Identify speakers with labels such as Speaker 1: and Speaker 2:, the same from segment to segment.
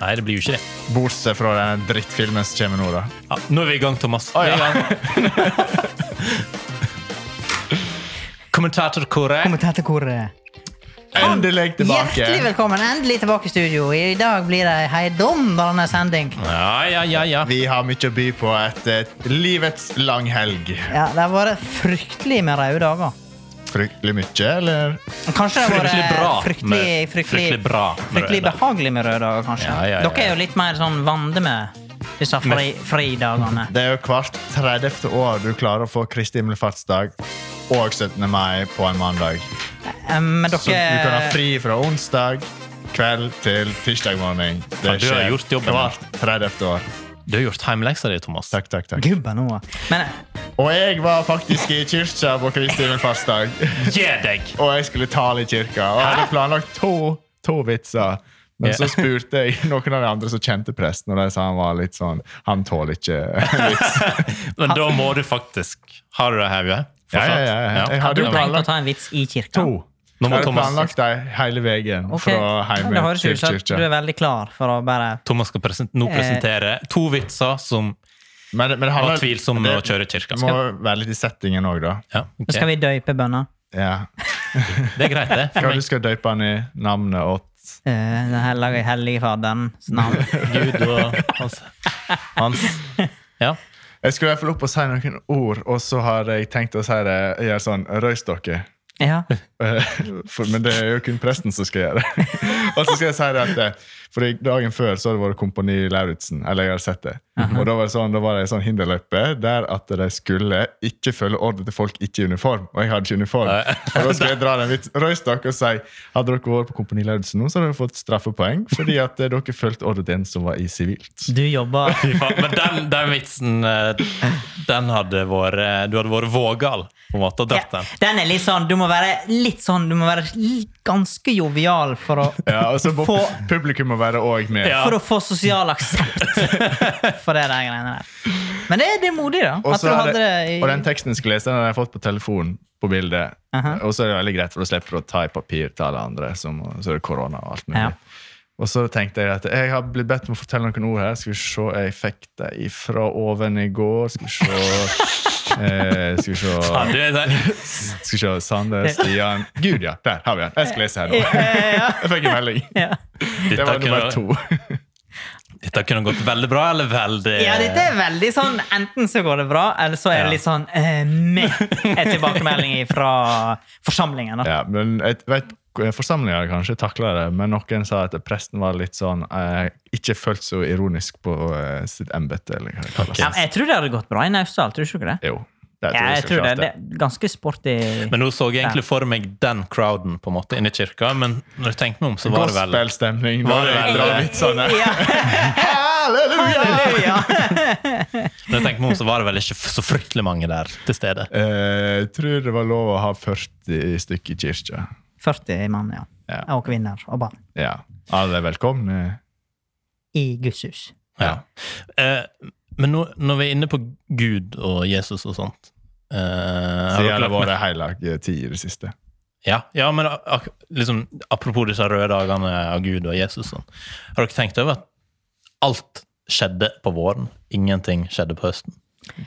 Speaker 1: Nei, det blir jo ikke det.
Speaker 2: Bortsett fra den drittfilmen som kommer nå, da.
Speaker 1: Ja, nå er vi i gang, Thomas. Vi er i gang. Kommentator Kåre.
Speaker 3: Kommentatorkoret.
Speaker 2: Endelig tilbake!
Speaker 3: Hjertelig velkommen endelig tilbake i studio. I dag blir det ei heidundrende sending.
Speaker 1: Ja, ja, ja, ja.
Speaker 2: Vi har mye å by på etter et livets langhelg.
Speaker 3: Ja, Det har vært fryktelig med røde dager.
Speaker 2: Fryktelig mye, eller?
Speaker 3: Kanskje det har
Speaker 1: Fryktelig bra med-
Speaker 3: vært eh, fryktelig, fryktelig,
Speaker 1: fryktelig bra med røde
Speaker 3: fryktelig
Speaker 1: dager.
Speaker 3: behagelig med røde dager, kanskje.
Speaker 1: Ja, ja, ja,
Speaker 3: Dere er jo litt mer sånn vande med disse fri, fridagene.
Speaker 2: Det er jo hvert 30. år du klarer å få Kristi himmelfartsdag og 17. mai på en mandag.
Speaker 3: Eh, Men
Speaker 2: Så du kan ha
Speaker 3: dere
Speaker 2: fri fra onsdag kveld til tirsdag morgen.
Speaker 1: Ja, du har gjort jobben.
Speaker 2: hvert 30. år.
Speaker 1: Du har gjort hjemmeleksa di, Thomas.
Speaker 2: Takk, takk, takk.
Speaker 3: Gubben nå. Men
Speaker 2: Og jeg var faktisk i kirka på Kristi himmelfartsdag.
Speaker 1: Gi deg!
Speaker 2: Og jeg skulle tale i kirka. Og jeg hadde planlagt to, to vitser. Men
Speaker 1: Ja.
Speaker 2: så spurte jeg noen av de andre som kjente presten, og de sa han var litt sånn Han tåler ikke eh, vits.
Speaker 1: Men da må du faktisk Har du det her, Bjørn?
Speaker 2: Ja, ja, ja, ja. Jeg
Speaker 3: har
Speaker 2: hadde
Speaker 3: du
Speaker 2: jo
Speaker 3: tenkt å
Speaker 2: planlagt
Speaker 3: ta en vits i kirka?
Speaker 2: to.
Speaker 1: Nå
Speaker 2: Jeg
Speaker 1: må
Speaker 2: hadde
Speaker 1: Thomas-
Speaker 2: planlagt dem hele veien
Speaker 3: Ok.
Speaker 2: fra
Speaker 3: Det
Speaker 2: hjemme
Speaker 3: høres
Speaker 2: til
Speaker 3: ut som at du er
Speaker 2: kirka.
Speaker 3: veldig klar for å bare
Speaker 1: Thomas skal presen nå
Speaker 2: Eh.
Speaker 1: presentere to vitser som
Speaker 2: Men, men det
Speaker 1: var
Speaker 2: handler-
Speaker 1: tvilsomme å kjøre i kirka.
Speaker 2: Det må være litt i settingen òg, da.
Speaker 1: Ja, ok.
Speaker 3: Skal vi døype bønner?
Speaker 2: Ja.
Speaker 1: Det er greit, det. For
Speaker 2: Hva
Speaker 1: meg.
Speaker 2: du skal døype han i navnet åt
Speaker 3: Eh, Den hellige, hellige Faderens navn.
Speaker 1: Gud og hans, hans. Ja.
Speaker 2: Jeg skulle i hvert fall opp og si noen ord, og så har jeg tenkt å si det gjøre sånn Røys dere.
Speaker 3: Ja.
Speaker 2: Eh, For, men det er jo kun presten som skal gjøre det. og så skal jeg si det at eh, for i- Dagen før så hadde det vært Kompani Lauritzen. Eller jeg har sett det. Og da var det sånn, da var det en sånn hinderløype der at de skulle ikke følge ordre til folk ikke i uniform. Og jeg hadde ikke uniform.
Speaker 1: Nei.
Speaker 2: og da skal jeg dra den vitsen. Røystak og si hadde dere vært på Kompani Lauritzen nå, så hadde dere fått straffepoeng fordi at eh, dere fulgte ordre til en som var i sivilt.
Speaker 3: Du jobber
Speaker 1: Fy faen, Men den, den vitsen eh, Den hadde vært Du hadde vært vågal på en måte og dratt
Speaker 3: Ja,
Speaker 1: den.
Speaker 3: den er litt sånn Du må være litt sånn Du må være li- ganske jovial for å,
Speaker 2: Ja, og så må
Speaker 3: Få-
Speaker 2: publikum må være òg med.
Speaker 1: Ja.
Speaker 3: for å få sosial aksept for det der greiene der. Men det, det er modig, da.
Speaker 2: Og,
Speaker 3: At du
Speaker 2: så er
Speaker 3: hadde
Speaker 2: det,
Speaker 3: det i
Speaker 2: og den teksten jeg skulle lese, den har jeg fått på telefon på bildet.
Speaker 3: Aha.
Speaker 2: Og så er det veldig greit, for da slipper du å ta i papir til alle andre. Som, så er det korona og alt mulig.
Speaker 3: Ja.
Speaker 2: Og så tenkte jeg at jeg har blitt bedt om å fortelle noen ord her. Skal vi se, jeg fikk det ifra oven i går. Skal vi se eh, Skal vi se,
Speaker 1: Ja, du, det,
Speaker 2: skal vi se Sander, Stian Gud, ja! Der har vi den. Jeg skal lese her nå.
Speaker 3: Ja,
Speaker 2: Jeg fikk en melding.
Speaker 3: ja.
Speaker 2: Det
Speaker 1: dette,
Speaker 2: var nummer
Speaker 1: kunne,
Speaker 2: to.
Speaker 1: dette kunne gått veldig bra eller veldig eh,
Speaker 3: ja, dette er veldig sånn Enten så går det bra, eller så er det litt sånn eh, meh, er tilbakemelding fra forsamlingen. Da.
Speaker 2: Ja, men jeg vet, Forsamlinga hadde kanskje takla det, men noen sa at presten var litt sånn eh, Ikke følt så ironisk på eh, sitt embete, eller hva det kalles.
Speaker 3: Ja, men jeg tror det hadde gått bra i Naustdal, tror du ikke det?
Speaker 2: Jo. Det
Speaker 3: Ja, jeg tror det.
Speaker 2: klart
Speaker 3: Det er ganske sporty.
Speaker 1: Men nå så jeg egentlig for meg den crowden på en måte inne i kirka, men når jeg tenkte meg om, så var det vel
Speaker 2: Gospelstemning.
Speaker 1: Var
Speaker 2: Var
Speaker 1: det
Speaker 2: det
Speaker 1: vel-
Speaker 2: bra vitsene?
Speaker 3: Ja,
Speaker 2: Halleluja!
Speaker 3: ja.
Speaker 1: Når jeg tenkte meg om, så var det vel ikke f- så fryktelig mange der til stede.
Speaker 2: Eh, Jeg tror det var lov å ha 40 stykk i kirka.
Speaker 3: 40 mann, ja.
Speaker 2: Ja.
Speaker 3: Og kvinner og barn.
Speaker 2: ja. Alle er velkomne.
Speaker 3: I Guds hus.
Speaker 1: Ja. Eh, men nå, når vi er inne på Gud og Jesus og sånt eh, har dere
Speaker 2: Så gjelder
Speaker 1: lagt merke-
Speaker 2: våre hellige ti i det siste.
Speaker 1: ja, ja, men ak liksom, apropos disse røde dagene av Gud og Jesus, sånn. har dere tenkt over at alt skjedde på våren? Ingenting skjedde på høsten?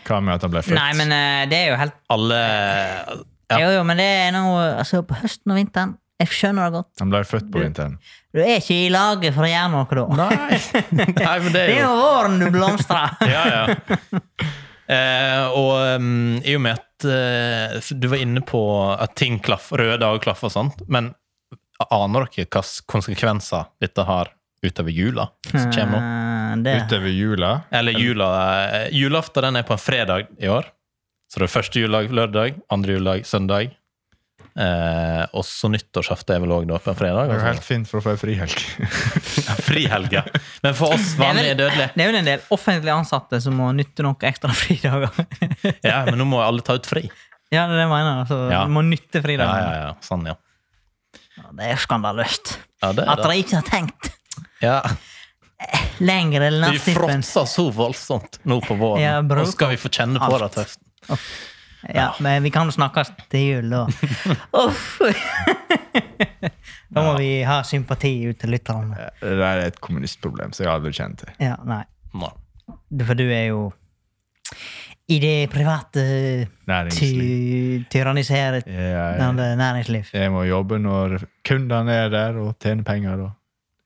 Speaker 2: Hva med at han ble født?
Speaker 3: Nei, men eh, det er jo helt
Speaker 1: Alle Ja.
Speaker 3: Jo, jo, men det er noe Altså, på høsten og vinteren Jeg skjønner det godt.
Speaker 2: Han ble født på vinteren.
Speaker 3: Du er ikke i laget for å gjøre noe da.
Speaker 1: Nei! Nei, men det
Speaker 3: Det
Speaker 1: er
Speaker 3: er
Speaker 1: jo
Speaker 3: jo våren du blomstrer.
Speaker 1: Ja, ja. Eh, og um, i og med at eh, f- du var inne på at ting klaffer, røde dager klaffer og sånt, men aner dere hvilke konsekvenser dette har utover jula? som kommer nå?
Speaker 3: Eh, det.
Speaker 2: Utover jula.
Speaker 1: Eller jula eh, Julaften den er på en fredag i år. Så det er første juledag lørdag, andre juledag søndag. Eh, og så nyttårsaften er vel òg på en fredag.
Speaker 2: Det er jo
Speaker 1: Altså.
Speaker 2: helt fint for å få ei frihelg.
Speaker 1: Frihelga. Men for oss vanlige
Speaker 3: Det er
Speaker 1: dødelige
Speaker 3: Det er vel en del offentlig ansatte som må nytte noen ekstra fridager.
Speaker 1: Ja, men nå må alle ta ut fri.
Speaker 3: ja, det er det jeg mener. Altså,
Speaker 1: Ja.
Speaker 3: Du må nytte
Speaker 1: Ja,
Speaker 3: fridager.
Speaker 1: ja, ja. Sånn, ja.
Speaker 3: Det er skandaløst.
Speaker 1: ja det
Speaker 3: At
Speaker 1: er det.
Speaker 3: dere ikke har tenkt
Speaker 1: Ja.
Speaker 3: lenger enn
Speaker 1: Vi
Speaker 3: landsdippen.
Speaker 1: fråtser så voldsomt nå på våren,
Speaker 3: Ja, brutalt.
Speaker 1: og skal vi få kjenne på det til høsten.
Speaker 3: Uff. Ja, men vi kan snakkes til jul, da. Uff. da må vi ha sympati ut til lytterne.
Speaker 2: Eh, Det der er et kommunistproblem som jeg aldri kjenner til.
Speaker 3: Ja, nei.
Speaker 1: Nei.
Speaker 3: Du- For du er jo i det private
Speaker 2: Næringsliv.
Speaker 3: ty tyranniserte
Speaker 2: Jeg,
Speaker 3: næringsliv.
Speaker 2: jeg må jobbe når kundene er der, og tjene penger. og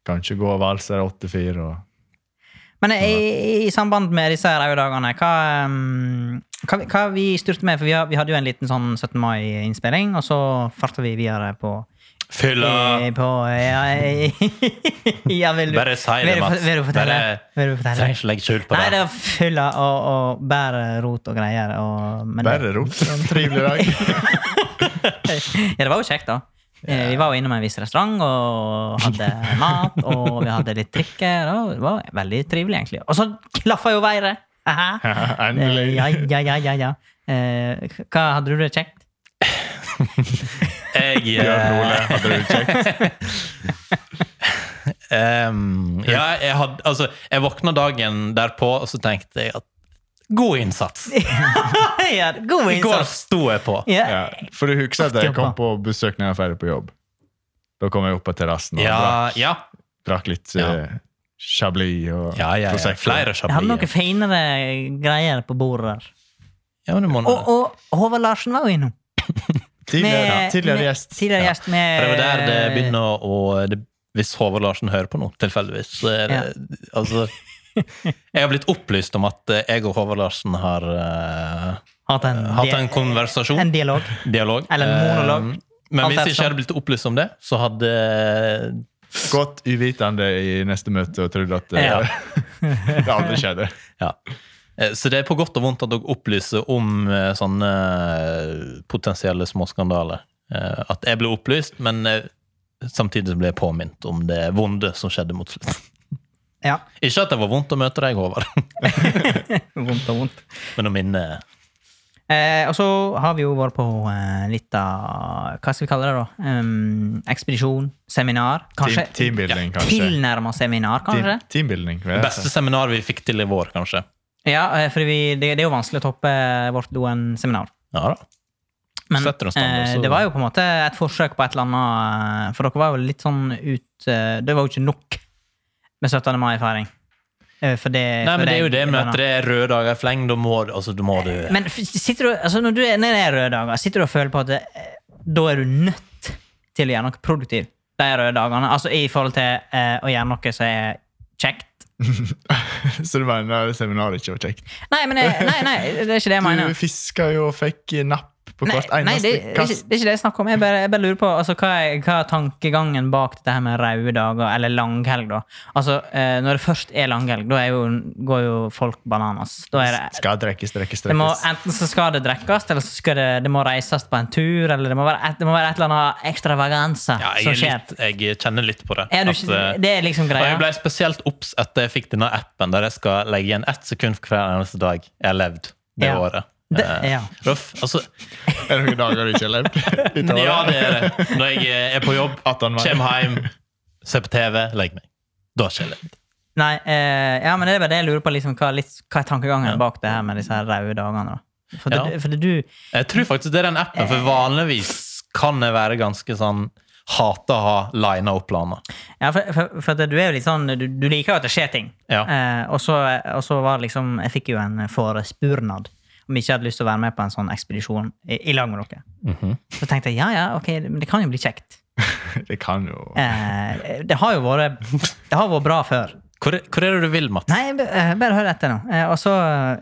Speaker 2: Kan ikke gå og valse 8-4. og
Speaker 3: Men i, i samband med disse her dagene, hva, um, hva, vi- hva vi styrte med? For vi, har- vi hadde jo en liten sånn 17. mai-innspilling, og så farta vi videre på
Speaker 1: Fylla!
Speaker 3: eh, på ja, ja, vil du
Speaker 1: Bare si det,
Speaker 3: vil du,
Speaker 1: Mats.
Speaker 3: vil du fortelle?
Speaker 1: Bare-
Speaker 3: vil du fortelle?
Speaker 1: Trenger ikke legge skjul på
Speaker 3: Nei, det
Speaker 1: det.
Speaker 3: var fylla og, og bare rot og greier. Og, men det-
Speaker 2: Bare rot. En trivelig dag.
Speaker 3: ja, det var jo kjekt, da. Eh, Vi var jo innom en viss restaurant og hadde mat og vi hadde litt drikker. Og det var veldig trivelig, egentlig. Og så klaffa jo været! Aha. Eh,
Speaker 2: Endelig.
Speaker 3: Ja, ja, ja, ja, ja. Eh, k- Hva hadde du det kjekt?
Speaker 1: Jeg
Speaker 2: Bjørn Ole,
Speaker 1: eh,
Speaker 2: hadde du kjekt?
Speaker 1: em, Ehm, Ja, jeg hadde Altså, jeg våkna dagen derpå, og så tenkte jeg at God innsats!
Speaker 3: ja, god
Speaker 1: I går
Speaker 3: innsats!
Speaker 1: sto jeg på.
Speaker 3: Ja.
Speaker 2: Ja. For du husker at jeg
Speaker 3: Jobba.
Speaker 2: kom på besøk når jeg var ferdig på jobb. Da kom jeg opp på terrassen og
Speaker 1: Ja,
Speaker 2: drakk,
Speaker 1: ja.
Speaker 2: drakk litt
Speaker 1: Ja.
Speaker 2: eh, chablis og
Speaker 1: ja, ja, ja.
Speaker 2: prosecco.
Speaker 1: Flere
Speaker 3: Jeg hadde noen
Speaker 1: sjabler.
Speaker 3: finere greier på bordet der.
Speaker 1: Ja, men det må nå-
Speaker 3: Og, og Håvard Larsen var jo innom.
Speaker 2: Tidligere,
Speaker 3: Med-
Speaker 2: tidligere
Speaker 3: med-
Speaker 2: gjest.
Speaker 3: Tidligere gjest med
Speaker 1: For det var der det begynner å det, Hvis Håvard Larsen hører på noe, tilfeldigvis så er det, altså, Jeg har blitt opplyst om at eh, jeg og Håvard Larsen har eh,
Speaker 3: Hatt en,
Speaker 1: hatt en
Speaker 3: en
Speaker 1: konversasjon.
Speaker 3: dialog.
Speaker 1: Dialog.
Speaker 3: eller monolog.
Speaker 1: Eh, Men
Speaker 3: Alt
Speaker 1: hvis jeg
Speaker 3: ettersom.
Speaker 1: ikke hadde blitt opplyst om det, så hadde
Speaker 2: Gått uvitende i neste møte og trodd at eh,
Speaker 1: Ja.
Speaker 2: det aldri skjedde.
Speaker 1: Ja. Eh, Så det er på godt og vondt at dere opplyser om eh, sånne eh, potensielle småskandaler. Eh, At jeg ble opplyst, men eh, samtidig så ble jeg påminnet om det vonde som skjedde mot slutten.
Speaker 3: Ja.
Speaker 1: Ikke at det var vondt å møte deg, Håvard,
Speaker 3: Vondt og vondt.
Speaker 1: men å minne
Speaker 3: Eh, og så har vi jo vært på eh, litt av Hva skal vi kalle det, da? Um, ekspedisjon? Seminar? Kanskje?
Speaker 2: Team- Teambuilding, kanskje.
Speaker 3: Tilnærma seminar, kanskje?
Speaker 2: Team, teambuilding, vil
Speaker 1: Det
Speaker 2: jeg
Speaker 1: beste seminaret vi fikk til i vår, kanskje.
Speaker 3: Ja, eh, for vi, det, det er jo vanskelig å toppe vårt Doen-seminar.
Speaker 1: Ja da.
Speaker 3: Men
Speaker 1: Setter en standard,
Speaker 3: eh,
Speaker 1: så-
Speaker 3: det var jo på en måte et forsøk på et eller annet eh, For dere var jo litt sånn ut eh, Det var jo ikke nok med 17. mai-feiring. Eh, for det
Speaker 1: Nei,
Speaker 3: for
Speaker 1: men det er jo det med
Speaker 3: var
Speaker 1: at det er røde dager i fleng. Da må, du- altså, da må du
Speaker 3: Men f- sitter du, altså når, du er, når det er røde dager, sitter du og føler på at det, da er du nødt til å gjøre noe produktivt de røde dagene? Altså i forhold til eh, å gjøre noe som er kjekt?
Speaker 2: si. Så du mener det seminaret ikke var kjekt?
Speaker 3: Nei, men jeg, nei, nei, det er ikke det jeg
Speaker 2: Du
Speaker 3: mener.
Speaker 2: fiska jo og fikk napp på
Speaker 3: Nei,
Speaker 2: hvert
Speaker 3: nei det,
Speaker 2: eneste
Speaker 3: det, er ikke,
Speaker 2: kast.
Speaker 3: det er ikke det jeg snakker om. Jeg bare, jeg bare lurer på altså, hva, er, hva er tankegangen bak dette her med røde dager, eller langhelg, da? Altså, eh, når det først er langhelg, da er jo, går jo folk bananas. Da er det
Speaker 2: Skal drekkes, drekkes,
Speaker 3: Det må,
Speaker 2: drekkes.
Speaker 3: enten så skal det drekkes, eller så skal det, det må reises på en tur, eller det må være et, det må være et eller annet ekstravaganse
Speaker 1: ja,
Speaker 3: som
Speaker 1: jeg, er
Speaker 3: skjer.
Speaker 1: litt, jeg kjenner litt på det.
Speaker 3: Er du
Speaker 1: at,
Speaker 3: ikke,
Speaker 1: eh,
Speaker 3: det er liksom
Speaker 1: og jeg
Speaker 3: greia.
Speaker 1: ble spesielt obs etter jeg fikk denne appen der jeg skal legge igjen ett sekund for hver eneste dag jeg har levd det
Speaker 3: Ja.
Speaker 1: året.
Speaker 3: Det-
Speaker 1: Eh,
Speaker 3: ja.
Speaker 1: Ruff. Altså,
Speaker 2: Er det noen dager du ikke har levd? Dette
Speaker 1: ja,
Speaker 2: året?
Speaker 1: det er det. Når jeg eh, er på jobb,
Speaker 2: 18 mai.
Speaker 1: kommer hjem, ser på TV, legger meg. Da har ikke jeg levd.
Speaker 3: Nei, eh, ja, men det er bare det jeg lurer på, liksom, hva, litt, hva er tankegangen
Speaker 1: Ja.
Speaker 3: bak det her med disse her røde dagene? da? For, det,
Speaker 1: Ja.
Speaker 3: for det, du
Speaker 1: Jeg tror faktisk det er den appen, for vanligvis kan jeg være ganske sånn Hater å ha lina opp planer.
Speaker 3: Ja, for, for, for at du er jo litt sånn Du, du liker jo at det skjer ting.
Speaker 1: Ja.
Speaker 3: Eh, og, så, og så var det liksom Jeg fikk jo en forespurnad om jeg ikke hadde lyst til å være med på en sånn ekspedisjon i, i lag med dere. Så tenkte jeg ja, ja, ok, men det kan jo bli kjekt.
Speaker 2: Det kan jo
Speaker 3: Eh, det har jo vært Det har vært bra før.
Speaker 1: hvor, hvor er det du vil, Mats?
Speaker 3: Nei, b- eh, bare hør etter nå. Eh, Og så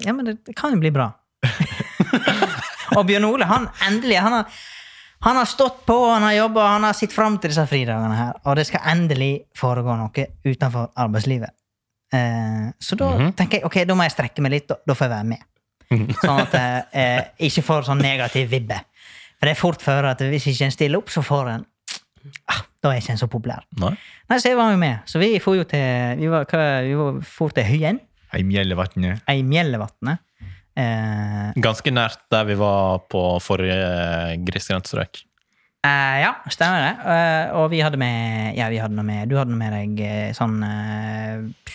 Speaker 3: Ja, men det, det kan jo bli bra. og Bjørn Ole, han endelig han har, han har stått på, han har jobba, han har sett fram til disse fridagene her. Og det skal endelig foregå noe utenfor arbeidslivet. Eh, så da
Speaker 1: Mhm.
Speaker 3: tenker jeg ok, da må jeg strekke meg litt, da, da får jeg være med. Sånn at jeg eh, ikke får sånn negativ vibbe. For det er fort føre at hvis ikke en stiller opp, så får en ah, Da er ikke en så populær.
Speaker 1: Nei?
Speaker 3: Nei, så jeg var jo med. Så vi for jo til, vi var, hva, vi var- for til Høyen,
Speaker 2: Heimjellevatnet.
Speaker 3: ei Mjellevatnet. Eh,
Speaker 1: Ganske nært der vi var på forrige grisgrendt strøk.
Speaker 3: eh, ja, stemmer det. Eh, og vi hadde med Ja, vi hadde noe med Du hadde noe med deg eh, sånn eh,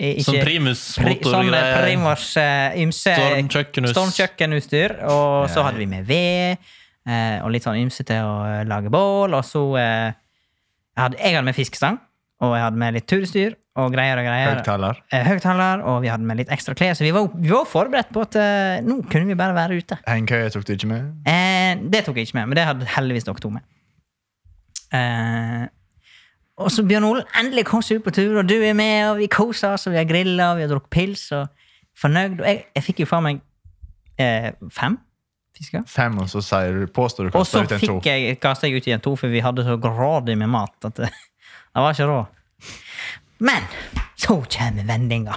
Speaker 3: Ikke,
Speaker 1: Sånn primus
Speaker 3: pri- sånn
Speaker 1: motorgreier.
Speaker 3: Primus eh, ymse
Speaker 1: Stormkjøkkenhus.
Speaker 3: stormkjøkkenutstyr. Og
Speaker 2: Ja.
Speaker 3: så hadde vi med ved, eh, og litt sånn ymse til å eh, lage bål. Og så eh, jeg hadde jeg hadde med fiskestang, og jeg hadde med litt turutstyr og greier og greier.
Speaker 2: Høyttaler.
Speaker 3: Eh, Høyttaler, og vi hadde med litt ekstra klær. Så vi var, vi var forberedt på at eh, nå kunne vi bare være ute.
Speaker 2: Hengekøye tok du ikke med?
Speaker 3: Eh, det tok jeg ikke med, men det hadde heldigvis dere to med. Eh, og så Bjørn Olen endelig kom seg ut på tur, og du er med, og vi koser oss, og vi har grilla, og vi har drukket pils, og fornøyd. Og jeg, jeg fikk jo faen meg eh, fem fisker.
Speaker 2: Fem, og så sier du, påstår du
Speaker 3: Og så
Speaker 2: kastet ut en to.
Speaker 3: fikk jeg, kastet jeg ut igjen to, for vi hadde så grådig med mat at det, det var ikke råd. Men så kommer vendinga.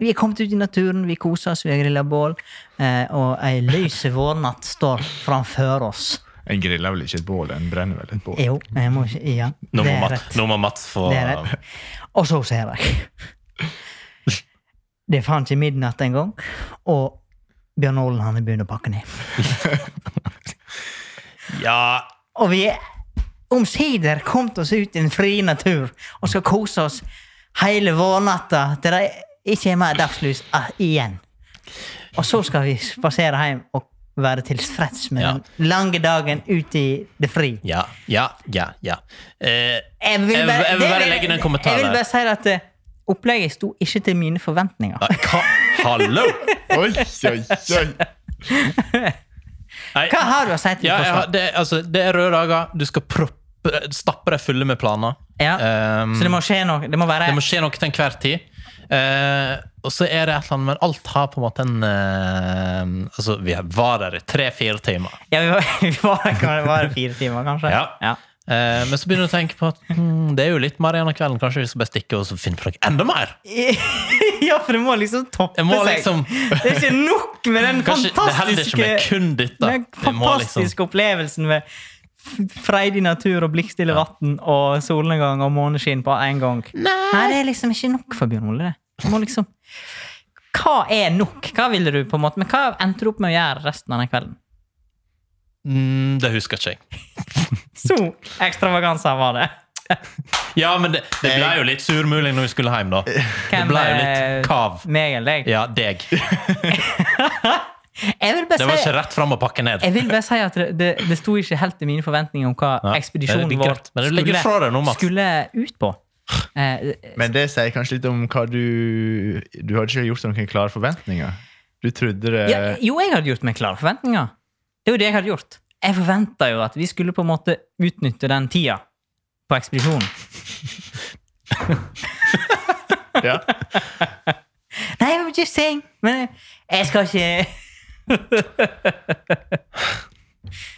Speaker 3: Vi er kommet ut i naturen, vi koser oss, vi har grilla bål, eh, og ei lys vårnatt står framfor oss.
Speaker 2: En griller vel ikke et bål, en brenner vel et bål.
Speaker 3: Jo, jeg må ikke Ja,
Speaker 1: Nå
Speaker 3: det
Speaker 1: må,
Speaker 3: er
Speaker 1: Mats,
Speaker 3: rett.
Speaker 1: nå må Mats få
Speaker 3: Det er rett. Og så ser jeg. Det er faen ikke midnatt engang, og Bjørn Olen han er begynt å pakke ned.
Speaker 1: Ja,
Speaker 3: Og vi er omsider kommet oss ut i en fri natur og skal kose oss hele vårnatta til det ikke er mer dagslys ah, igjen. Og så skal vi spasere hjem og være tilfreds med
Speaker 1: Ja.
Speaker 3: den lange dagen ute i det fri.
Speaker 1: ja, ja, ja. ja. Eh,
Speaker 3: Jeg vil
Speaker 1: Jeg vil- jeg vil
Speaker 3: det
Speaker 1: bare legge inn en kommentar
Speaker 3: Jeg
Speaker 1: der.
Speaker 3: vil bare si at eh, opplegget sto ikke til mine forventninger.
Speaker 1: nei, hva? Hallo!
Speaker 2: Oi, oi, oi!
Speaker 1: Nei,
Speaker 3: Hva har du å si til
Speaker 1: ja, jeg har-
Speaker 3: forsvar?
Speaker 1: det, er- altså, det er røde dager. Du skal proppe, stappe deg fulle med planer.
Speaker 3: Ja.
Speaker 1: Ehm,
Speaker 3: Så det må skje noe. Det må være
Speaker 1: Det må skje noe til enhver tid. Eh, og så er det et eller annet, men alt har på en måte en eh, Altså, vi var der i tre-fire timer.
Speaker 3: ja, vi var, vi var, det var fire timer, kanskje.
Speaker 1: Ja. Eh, men så begynner du å tenke på at hmm, det er jo litt mer igjen av kvelden. Kanskje vi skal bare stikke og så finne på noe enda mer?
Speaker 3: ja, for det må liksom toppe
Speaker 1: Jeg må
Speaker 3: seg.
Speaker 1: liksom-
Speaker 3: Det er ikke nok med den
Speaker 1: Kanskje, det holder
Speaker 3: fantastiske,
Speaker 1: ikke med kun dette.
Speaker 3: den
Speaker 1: Vi må liksom
Speaker 3: fantastiske opplevelsen med f- freidig natur og blikkstille vann og solnedgang og måneskinn på en gang. Nei. det er liksom ikke nok for Bjørn Ole. det. Du må liksom Hva er nok? Hva ville du på en måte Men hva endte du opp med å gjøre resten av den kvelden?
Speaker 1: mm, Det husker ikke jeg.
Speaker 3: Så ekstravaganser var det.
Speaker 1: Ja, men det, det ble jo litt surmuling når vi skulle hjem, da. Det
Speaker 3: Hvem,
Speaker 1: ble jo
Speaker 3: eh,
Speaker 1: litt kav.
Speaker 3: Meg eller deg?
Speaker 1: Ja, deg. Det
Speaker 3: Jeg vil bare
Speaker 1: var
Speaker 3: si
Speaker 1: ikke rett fram å pakke ned.
Speaker 3: Jeg vil bare si at det, det, det sto ikke helt til mine forventninger om hva
Speaker 1: Nei,
Speaker 3: ekspedisjonen
Speaker 1: det er
Speaker 3: vår
Speaker 1: greit, men det ligger fra deg nå, Mats.
Speaker 3: skulle ut på. Eh,
Speaker 2: Men det sier kanskje litt om hva du Du hadde ikke gjort deg noen klare forventninger. Du trodde det
Speaker 3: ja,
Speaker 1: Eh.
Speaker 3: jo, jeg hadde gjort meg klar forventninger. Det er jo det jeg hadde gjort. Jeg forventa jo at vi skulle på en måte utnytte den tida på ekspedisjonen.
Speaker 2: ja.
Speaker 3: Nei, I was just saying. Men jeg skal ikke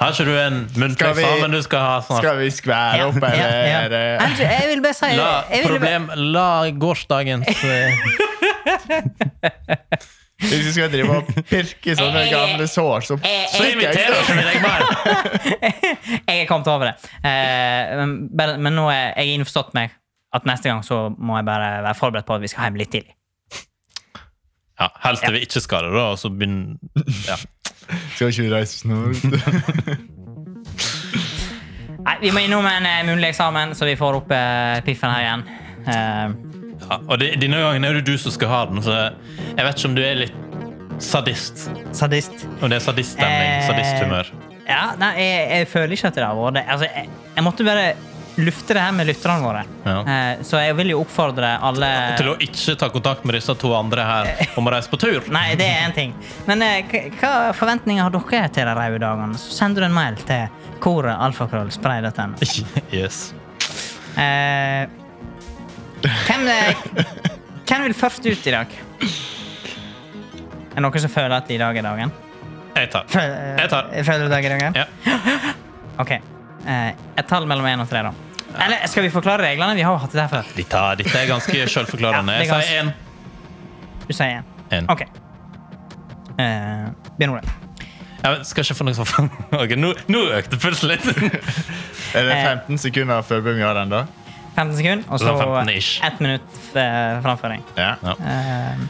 Speaker 1: Har ikke du en muntlig
Speaker 2: Skal vi-
Speaker 1: eksamen du skal ha snart?
Speaker 2: Skal vi skvære opp,
Speaker 3: Ja,
Speaker 2: eller?
Speaker 3: ja.
Speaker 2: eller-
Speaker 3: Andrew, Jeg vil bare si
Speaker 1: La,
Speaker 3: jeg vil bare,
Speaker 1: problem, la gårsdagens eh,
Speaker 2: Hvis vi skal drive og pirke i
Speaker 3: Eh,
Speaker 2: sånne gamle sår, så
Speaker 1: Så inviterer ikke vi deg mer!
Speaker 3: Jeg er kommet over det. Eh, men, bare, men nå er jeg innforstått med at neste gang så må jeg bare være forberedt på at vi skal hjem litt tidlig.
Speaker 1: Ja, Helt til vi ikke skal det, da. Og så begynner ja.
Speaker 2: Skal ikke vi reise
Speaker 3: eh.
Speaker 2: snart?
Speaker 3: Nei, Vi må innom en eh, munnlig eksamen, så vi får opp eh, piffen her igjen. Eh,
Speaker 1: ja. Og det, denne gangen er det du som skal ha den, så jeg vet ikke om du er litt sadist.
Speaker 3: sadist.
Speaker 1: Om det er sadiststemning.
Speaker 3: Eh.
Speaker 1: Sadisthumør.
Speaker 3: Ja, nei, jeg, jeg føler ikke at det har vært det. Altså, jeg, jeg måtte bare lufte det her med lytterne våre.
Speaker 1: Ja.
Speaker 3: Eh, så jeg vil jo oppfordre alle
Speaker 1: Til å ikke ta kontakt med disse to andre her om å reise på tur.
Speaker 3: Nei, det er én ting. Men eh, k- hva forventninger har dere til de røde dagene? Så sender du en mail til koret alfakrøllspray.no.
Speaker 1: Yes.
Speaker 3: Eh, hvem, eh, hvem vil først ut i dag? Er det noen som føler at i dag er dagen?
Speaker 1: Jeg tar.
Speaker 3: Føl- eh,
Speaker 1: Jeg tar.
Speaker 3: Føler du deg i dagen?
Speaker 1: Ja.
Speaker 3: Ok. Eh, et tall mellom én og tre, da. Eller skal vi forklare reglene? Vi har jo hatt det her før.
Speaker 1: Dette, dette er ganske sjølforklarende.
Speaker 3: Ja, det
Speaker 1: Jeg
Speaker 3: er
Speaker 1: sier én.
Speaker 3: Du sier én.
Speaker 1: En.
Speaker 3: Ok. Eh, Bjørn Ole.
Speaker 1: Jeg skal ikke få noe sånn Ok, nå, nå økte pulsen litt.
Speaker 2: Er det 15 sekunder før vi har den, da?
Speaker 3: 15 sekunder, og
Speaker 1: Det var 15
Speaker 3: så
Speaker 1: ish.
Speaker 3: ett minutt eh, framføring.
Speaker 2: Ja.
Speaker 1: Ja.
Speaker 3: Eh,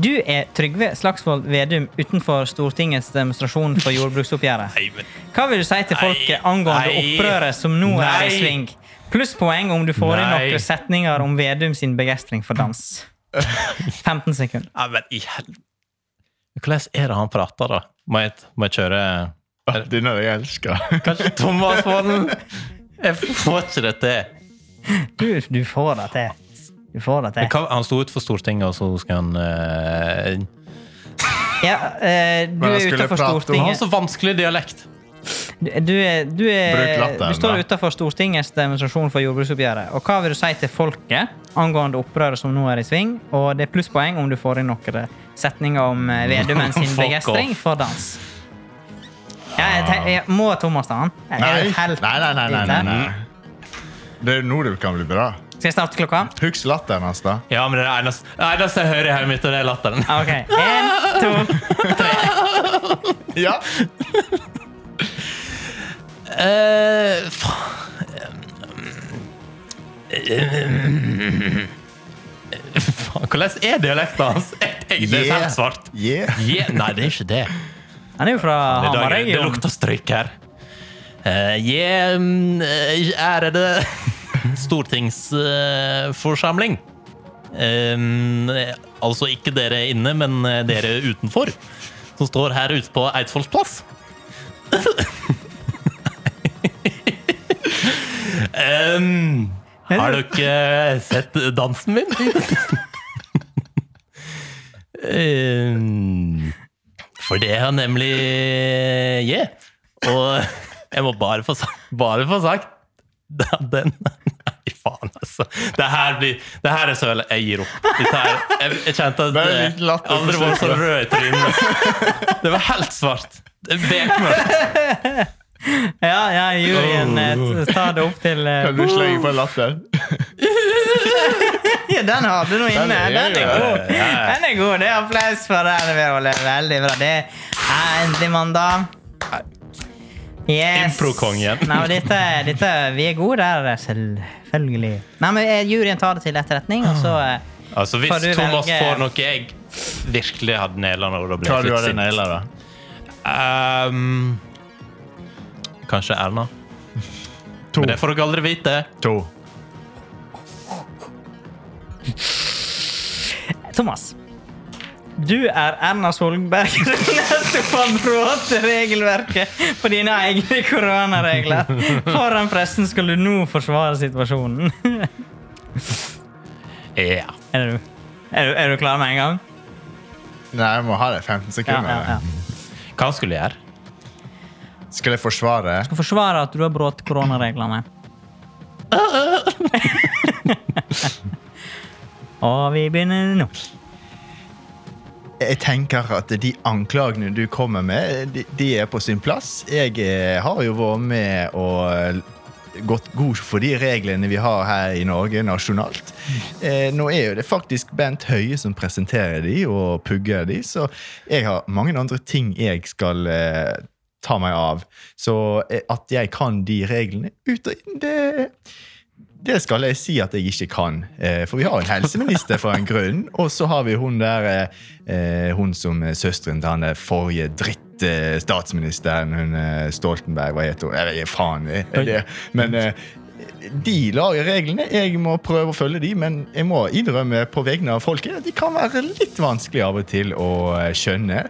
Speaker 3: du er Trygve Slagsvold Vedum utenfor Stortingets demonstrasjon for jordbruksoppgjøret.
Speaker 1: Nei, men
Speaker 3: Hva vil du si til folket
Speaker 1: Nei.
Speaker 3: angående
Speaker 1: Nei.
Speaker 3: opprøret som nå er i
Speaker 1: Nei.
Speaker 3: sving? Plusspoeng om du får inn
Speaker 1: Nei.
Speaker 3: noen setninger om Vedum sin begeistring for dans. 15 sekunder.
Speaker 1: Ja, men i helvete Hvordan er det han prater, da? Må jeg, må jeg kjøre
Speaker 2: Å, Denne jeg
Speaker 3: Eh,
Speaker 2: elsker.
Speaker 1: Kanskje Thomas Vollen? Jeg får ikke det til.
Speaker 3: Du, du får det til. Du får det
Speaker 1: Men
Speaker 3: til.
Speaker 1: hva- Han sto utenfor Stortinget, og så skal han eh,
Speaker 3: Ja, eh, du
Speaker 2: Men jeg
Speaker 3: er
Speaker 2: skulle prate om
Speaker 3: utenfor
Speaker 1: Han har
Speaker 3: Stortinget.
Speaker 1: så vanskelig dialekt.
Speaker 3: Du, du, er, du, er,
Speaker 2: Bruk latteren,
Speaker 3: du står
Speaker 2: da.
Speaker 3: utenfor Stortingets demonstrasjon for jordbruksoppgjøret. Og hva vil du si til folket angående opprøret som nå er i sving? Og det er plusspoeng om du får inn noen eh, setninger om eh, Vedumen sin
Speaker 1: Fuck
Speaker 3: begeistring
Speaker 1: off.
Speaker 3: for dans. Ja, jeg, tenk- jeg, må Thomas ta han? Jeg er jo
Speaker 2: Nei, nei,
Speaker 3: helt-
Speaker 2: nei. nei, nei, nei,
Speaker 3: Mm.
Speaker 2: nei. Det er jo nå det kan bli bra.
Speaker 3: Skal jeg starte klokka?
Speaker 2: Husk latteren hans, da.
Speaker 1: Ja, men det er det eneste, det eneste jeg hører i hodet mitt, og det er latteren.
Speaker 3: Ah, Ok. En, to
Speaker 2: Ja.
Speaker 1: Eh, faen Faen, Hvordan er dialekten hans? Jeg tenker Det er helt svart.
Speaker 2: Yeah.
Speaker 1: Je- Nei, det er ikke det.
Speaker 3: Han er jo fra
Speaker 1: Det, er dagen. det
Speaker 3: Hamarøy.
Speaker 1: lukter stryk her. Eh, je, mm, eh, ærede stortingsforsamling. Eh, altså ikke dere inne, men eh, dere utenfor, som står her ute på Eidsvolls plass. Em, har du ikke sett dansen min? Em, Eh, for det har nemlig jeg. Og jeg må bare få sagt, bare få sagt da- den Nei, faen, altså. Det her, blir, det her er søle. Jeg gir opp. Dette her, jeg, jeg kjente at
Speaker 2: Det er
Speaker 1: eh,
Speaker 2: litt latter
Speaker 1: jeg aldri var så
Speaker 2: forsøk, da.
Speaker 1: rød i trynet. Det var helt svart. Det er Bekmørkt.
Speaker 3: Ja, ja, juryen eh, tar det opp til eh,
Speaker 2: Kan du slenge på latteren?
Speaker 3: Ja, den har du nå inne.
Speaker 2: er-
Speaker 3: Den er
Speaker 2: ja,
Speaker 3: god.
Speaker 1: ja, ja.
Speaker 3: Den er god. Det er applaus for den. Vi holder veldig bra. Det er endelig mandag. Yes.
Speaker 1: Impro-kongen.
Speaker 3: Nei, men dette, dette, vi er gode der, selvfølgelig. Nei, men eh, Juryen tar det til etterretning, og så eh,
Speaker 1: Altså, hvis
Speaker 3: Får du
Speaker 1: Thomas
Speaker 3: velge-
Speaker 1: får noe jeg virkelig hadde nailet nå, da blir
Speaker 2: Hva
Speaker 1: jeg
Speaker 2: du
Speaker 1: litt
Speaker 2: hadde
Speaker 1: sint.
Speaker 2: naila, da?
Speaker 1: Ehm, kanskje Erna.
Speaker 2: To.
Speaker 1: Men det får dere aldri vite.
Speaker 2: To.
Speaker 3: Thomas. Du er Erna Solberg. Nettopp har brutt regelverket på dine egne koronaregler. Foran pressen skal du nå forsvare situasjonen.
Speaker 1: Ja.
Speaker 3: Er du, er du, er du klar med en gang?
Speaker 2: Nei, jeg må ha det 15
Speaker 3: Ja,
Speaker 2: sekunder.
Speaker 3: ja, ja.
Speaker 1: Hva han skulle gjøre?
Speaker 2: Skal jeg forsvare?
Speaker 3: Skal forsvare at du har brutt koronareglene. Og vi begynner nå.
Speaker 2: Jeg tenker at de anklagene du kommer med, de, de er på sin plass. Jeg eh, har jo vært med og eh, gått god for de reglene vi har her i Norge nasjonalt. Eh, nå er jo det faktisk Bent Høie som presenterer de og pugger de, så jeg har mange andre ting jeg skal eh, ta meg av. Så eh, at jeg kan de reglene ut og inn, det det skal jeg si at jeg ikke kan. Eh, For vi har en helseminister for en grunn. Og så har vi hun der eh, eh, Hun som er søsteren til han der forrige dritt eh, statsministeren, hun eh, Stoltenberg, hva heter hun? Jeg vet ikke, faen. eh, Det. Men eh, de lager reglene. Jeg må prøve å følge de, men jeg må innrømme på vegne av folket at de kan være litt vanskelig av og til å eh, skjønne.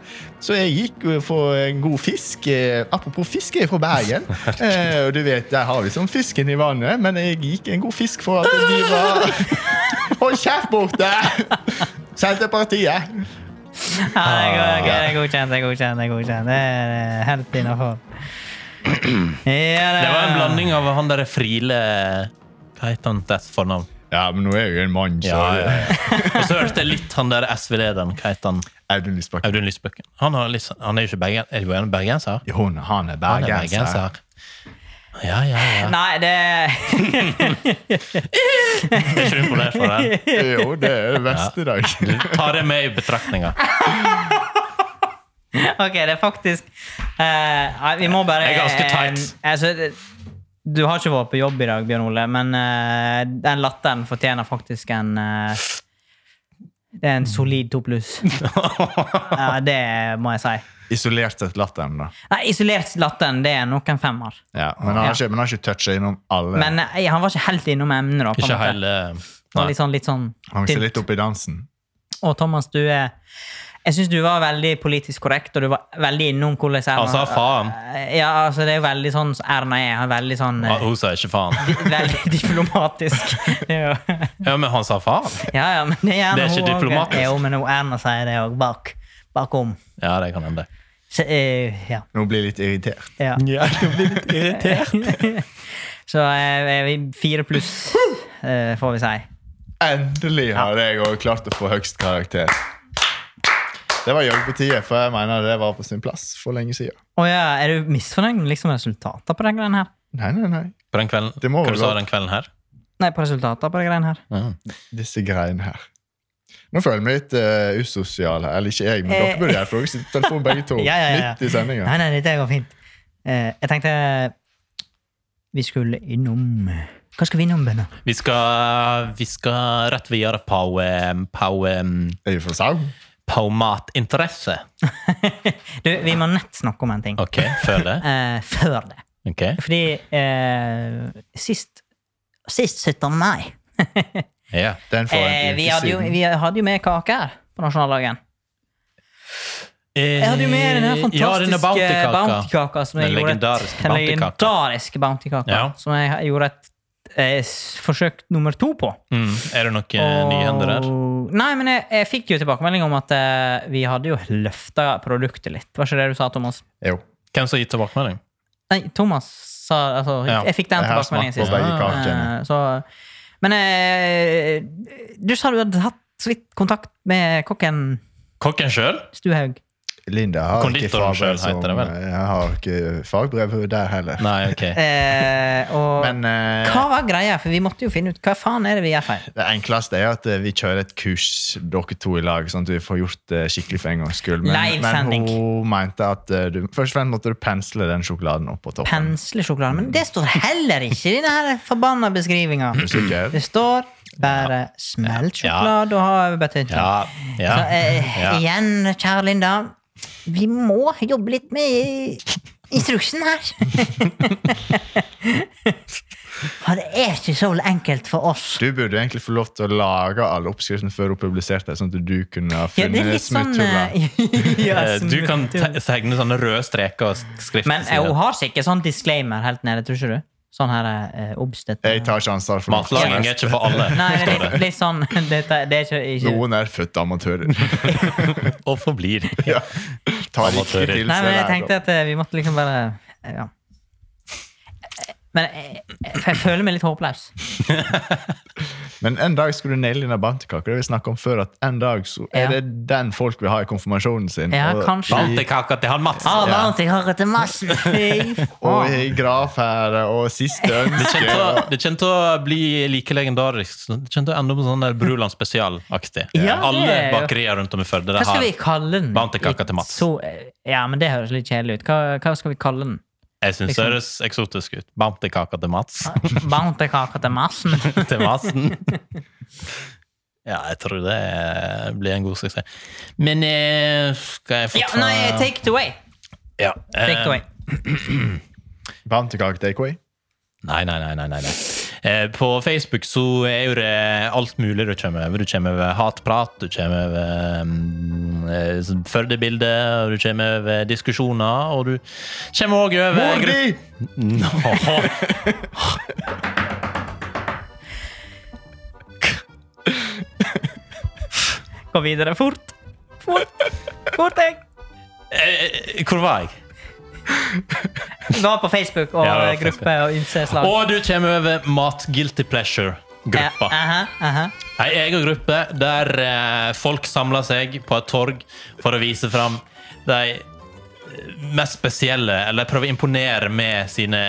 Speaker 2: Så jeg gikk jo for en god fisk. Eh, Apropos fisk, jeg er fra Bergen. Eh, Og du vet, der har vi sånn fisken i vannet, men jeg gikk en god fisk for at de var Hold kjeft borte! Senterpartiet.
Speaker 3: Ja, det er go- det er godkjent, det er godkjent. Det er godkjent. Det er eh, helt innafor.
Speaker 1: Det
Speaker 3: Eh.
Speaker 1: var en blanding av han derre Friele Hva heter han til ett fornavn?
Speaker 2: Ja, men nå er jeg jo en mann, så
Speaker 1: Og så hørte jeg litt han der SV-lederen. Hva heter han?
Speaker 2: Audun Lysbakken.
Speaker 1: Audun Lysbøkken. Han, har litt sånn- han er jo ikke bergen, er jo en bergenser.
Speaker 2: Jo, han- han er
Speaker 1: Han er
Speaker 2: bergenser.
Speaker 1: bergenser. Ja, ja, ja.
Speaker 3: Nei, det
Speaker 1: Jeg er ikke imponert for det.
Speaker 2: Jo, det er det beste, da.
Speaker 1: Ta det med i betraktninga.
Speaker 3: OK, det er faktisk eh, Nei, Vi må bare
Speaker 1: Jeg er ganske tight.
Speaker 3: eh, altså, det- du har ikke vært på jobb i dag, Bjørn Ole, men eh, den latteren fortjener faktisk en eh, Det er en solid to pluss. Ja, det må jeg si.
Speaker 2: Isolert sett latteren, da.
Speaker 3: Nei, isolert latteren, det er nok en femmer.
Speaker 2: Ja, men han har ikke, men han har ikke toucha innom alle.
Speaker 3: Men eh, han var ikke helt innom emnet, da. på en
Speaker 1: Ikke
Speaker 3: måte.
Speaker 1: hele
Speaker 3: Det var
Speaker 1: Nei.
Speaker 3: Litt sånn, litt sånn
Speaker 2: han ser
Speaker 3: tynt.
Speaker 2: litt opp i dansen.
Speaker 3: Og Thomas, du er Jeg syns du var veldig politisk korrekt, og du var veldig innom hvordan Erna
Speaker 1: Altså, Han sa faen.
Speaker 3: Ja, altså, det er jo veldig sånn som Erna er. Hun er Veldig sånn
Speaker 1: Ja,
Speaker 3: eh,
Speaker 1: Hun sa ikke faen.
Speaker 3: Veldig diplomatisk. Det er jo-
Speaker 1: Ja, men han sa faen.
Speaker 3: ja, ja, men det er gjerne
Speaker 1: Det er ikke
Speaker 3: hun også.
Speaker 1: diplomatisk.
Speaker 3: Jo, men hun Erna sier det òg. Bak, bakom.
Speaker 1: Ja, det kan hende.
Speaker 3: Så, eh, ja.
Speaker 2: Nå blir jeg litt irritert.
Speaker 3: ja.
Speaker 1: Ja, du blir litt irritert.
Speaker 3: Så eh, vi- fire pluss, eh, får vi si.
Speaker 2: Endelig har jeg òg klart å få høgst karakter. Det var jaggu på tide, for jeg mener det var på sin plass for lenge siden.
Speaker 3: Å ja, er du misfornøyd med liksom, resultatene på den greien her?
Speaker 2: Nei, nei, nei.
Speaker 1: På den kvelden,
Speaker 2: Det må
Speaker 1: hva
Speaker 2: vel
Speaker 1: du sa
Speaker 2: være.
Speaker 1: den kvelden her?
Speaker 3: Nei, på resultatene på den greien her.
Speaker 1: Ja.
Speaker 2: Disse greiene her. Nå føler jeg meg litt eh, usosial her. Eller ikke jeg, men
Speaker 3: Eh.
Speaker 2: dere burde gjøre for dere sitter på telefonen begge to.
Speaker 3: Ja, ja, ja, ja.
Speaker 2: Midt i sendinga.
Speaker 3: Nei, nei, dette går fint. Eh, jeg tenkte vi skulle innom Hva skal vi innom, Bønna?
Speaker 1: Vi skal, vi skal rett videre på, eh, på, eh,
Speaker 2: Er vi fra Sogn?
Speaker 1: på matinteresse.
Speaker 3: Du, vi må nett snakke om en ting.
Speaker 1: Ok, føler jeg.
Speaker 3: Eh, før det.
Speaker 1: Ok.
Speaker 3: Fordi eh, sist Sist 17. mai
Speaker 1: Ja.
Speaker 2: Den for
Speaker 3: eh,
Speaker 2: en
Speaker 3: vi,
Speaker 2: uke
Speaker 3: hadde jo,
Speaker 2: siden.
Speaker 3: vi hadde jo med kake her på nasjonaldagen. Jeg hadde jo med den her
Speaker 1: Eh, Ja, denne bounty-kaka.
Speaker 3: fantastiske bounty-kaka. som jeg
Speaker 1: Den
Speaker 3: gjorde et-
Speaker 1: legendariske
Speaker 3: den
Speaker 1: bounty-kaka.
Speaker 3: legendariske bounty-kaka.
Speaker 1: Ja.
Speaker 3: Som jeg gjorde et eh, s- forsøk nummer to på.
Speaker 1: Mm, er det noen eh, nyhender der?
Speaker 3: Og- Nei, men jeg, jeg fikk jo tilbakemelding om at eh, vi hadde jo løfta produktet litt. Var ikke det du sa, Thomas?
Speaker 2: Jo.
Speaker 1: Hvem som har gitt tilbakemelding?
Speaker 3: Nei, Thomas sa altså,
Speaker 1: Ja,
Speaker 3: Jeg fikk den
Speaker 2: jeg har
Speaker 3: tilbakemeldingen
Speaker 2: smakt på
Speaker 3: sist.
Speaker 2: begge kakene.
Speaker 3: Eh, så- Men eh, du sa du hadde hatt så vidt kontakt med kokken
Speaker 1: Kokken sjøl?
Speaker 3: Stuhaug.
Speaker 2: Linda har ikke
Speaker 1: Konditoren
Speaker 2: fagbrev
Speaker 1: selv heter det vel?
Speaker 2: som- Jeg har ikke fagbrev der heller.
Speaker 1: Nei, ok.
Speaker 3: Eh, og
Speaker 2: Men eh,
Speaker 3: hva var greia? For vi måtte jo finne ut hva faen er det vi gjør feil.
Speaker 2: det enkleste er at eh, vi kjører et kurs, dere to i lag, sånn at vi får gjort det skikkelig for en gangs skyld. Men,
Speaker 3: Livesending.
Speaker 2: men hun mente at eh, du, først og fremst måtte du pensle den sjokoladen opp på toppen.
Speaker 3: Penslesjokolade. Men det står heller ikke i denne forbanna beskrivinga.
Speaker 2: Sikker?
Speaker 3: Det står bare smelt sjokolade og ha betydning.
Speaker 1: Ja. ja.
Speaker 3: Så eh,
Speaker 1: Ja.
Speaker 3: igjen, kjære Linda, vi må jobbe litt med instruksen her. For det er ikke så enkelt for oss.
Speaker 2: Du burde egentlig få lov til å lage alle oppskriftene før hun publiserte, sånn at du kunne ha
Speaker 3: Ja, det er
Speaker 2: funnet
Speaker 3: litt sånn eh,
Speaker 2: smutthuller.
Speaker 3: ja,
Speaker 1: Eh, Du kan
Speaker 3: smutthull.
Speaker 1: te- tegne sånne røde streker og sk- skrift.
Speaker 3: Men eh, hun har sikkert sånn disclaimer helt nede, tror ikke du? Sånn her eh, obstøtt.
Speaker 2: Jeg tar ikke ansvar for noe.
Speaker 1: Matlaging er ikke for alle.
Speaker 3: Nei, det
Speaker 1: står
Speaker 3: er
Speaker 1: det.
Speaker 3: litt, litt sånn Dette, det er ikke, ikke
Speaker 2: Noen er født amatører.
Speaker 1: Og forblir.
Speaker 2: ja. Ta riktig
Speaker 1: Amatører.
Speaker 2: til seg
Speaker 3: Nei, men jeg
Speaker 2: lærdom.
Speaker 3: tenkte at eh, vi måtte liksom bare eh, ja. Men jeg, jeg, jeg føler meg litt håpløs.
Speaker 2: Men en dag skulle du naile dine bantekaker. Det vi snakket om før, at en dag så
Speaker 3: Ja.
Speaker 2: er det den folk vil ha i konfirmasjonen sin.
Speaker 3: Ja,
Speaker 2: og,
Speaker 3: kanskje.
Speaker 1: Bounty-kaka til han Mats!
Speaker 3: Ah,
Speaker 2: Ja.
Speaker 3: Bounty hører til massen! Fy
Speaker 1: Ah.
Speaker 2: og
Speaker 3: faen.
Speaker 2: i gravferde og siste
Speaker 1: Det
Speaker 2: ønske.
Speaker 1: kommer til å- det kommer til å bli like legendarisk. Det kommer til å ende opp sånn der Bruland spesial-aktig.
Speaker 3: Ja, det
Speaker 1: Alle
Speaker 3: er jo-
Speaker 1: bakerier rundt om i Førde
Speaker 3: Hva
Speaker 1: det
Speaker 3: skal
Speaker 1: har
Speaker 3: vi kalle den?
Speaker 1: Bounty-kaka til Mats.
Speaker 3: Så, eh, ja, men Det høres litt kjedelig ut. Hva, hva skal vi kalle den?
Speaker 1: Jeg syns
Speaker 3: Liksom.
Speaker 1: det høres eksotisk ut. Bounty-kaka til Mats.
Speaker 3: Bounty-kaka til massen?
Speaker 1: til Madsen. Ja, jeg tror det eh, blir en god suksess. Men eh, skal jeg få
Speaker 3: Ja,
Speaker 1: ta
Speaker 3: nei, take it away.
Speaker 1: Ja, eh,
Speaker 3: Take it away.
Speaker 2: Bantekake takeaway.
Speaker 1: Nei, nei, nei. nei, nei, nei. Eh, På Facebook så er jo det alt mulig du kommer over. Du kommer over hatprat, du kommer over mm, eh, sånn Førde-bilder, og du kommer over diskusjoner, og du kommer òg over gru-
Speaker 2: Mordi!
Speaker 1: Nå.
Speaker 3: Gå videre fort. Fort, fort jeg.
Speaker 1: Eh, Hvor var jeg?
Speaker 3: Gå på Facebook og
Speaker 1: Ja, det var
Speaker 3: eh, gruppe og ymse slag.
Speaker 1: Og du kommer over Mat Guilty Pleasure-gruppa.
Speaker 3: Ja, aha, aha.
Speaker 1: Ei egen gruppe der eh, folk samler seg på et torg for å vise fram de eh, mest spesielle, eller prøve å imponere med sine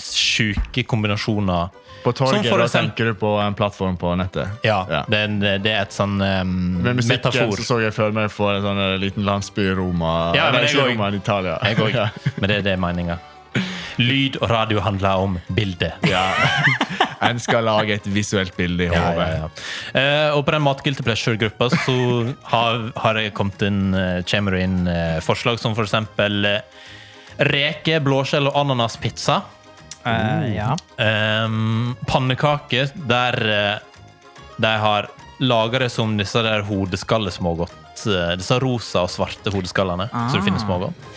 Speaker 1: sjuke kombinasjoner.
Speaker 2: På
Speaker 1: Som
Speaker 2: torget,
Speaker 1: for
Speaker 2: da
Speaker 1: eksempel-
Speaker 2: tenker du på en plattform på nettet.
Speaker 1: Ja,
Speaker 2: Ja.
Speaker 1: Det, er en, det er et sånn em,
Speaker 2: Med musikken
Speaker 1: metafor.
Speaker 2: så så jeg for meg for en sånn eh, liten landsby i Roma.
Speaker 1: Ja, men
Speaker 2: Nei,
Speaker 1: jeg
Speaker 2: ikke
Speaker 1: går-
Speaker 2: Roma, men Italia.
Speaker 1: Jeg òg.
Speaker 2: Ja.
Speaker 1: Men det er det meninga. Lyd og radio handler om bildet.
Speaker 2: Ja. En skal lage et visuelt bilde i
Speaker 1: Ja, ja,
Speaker 2: hodet.
Speaker 1: ja. Eh, og på den Matguilty Pleasure-gruppa så har, har det kommet inn, eh, kommer det inn eh, forslag som for eksempel eh, reke, blåskjell og ananaspizza. Mm.
Speaker 3: Eh, ja.
Speaker 1: Um, pannekaker der eh, de har laga det som disse der hodeskallesmågodt. eh, Disse rosa og svarte hodeskallene. Så du finner smågodt.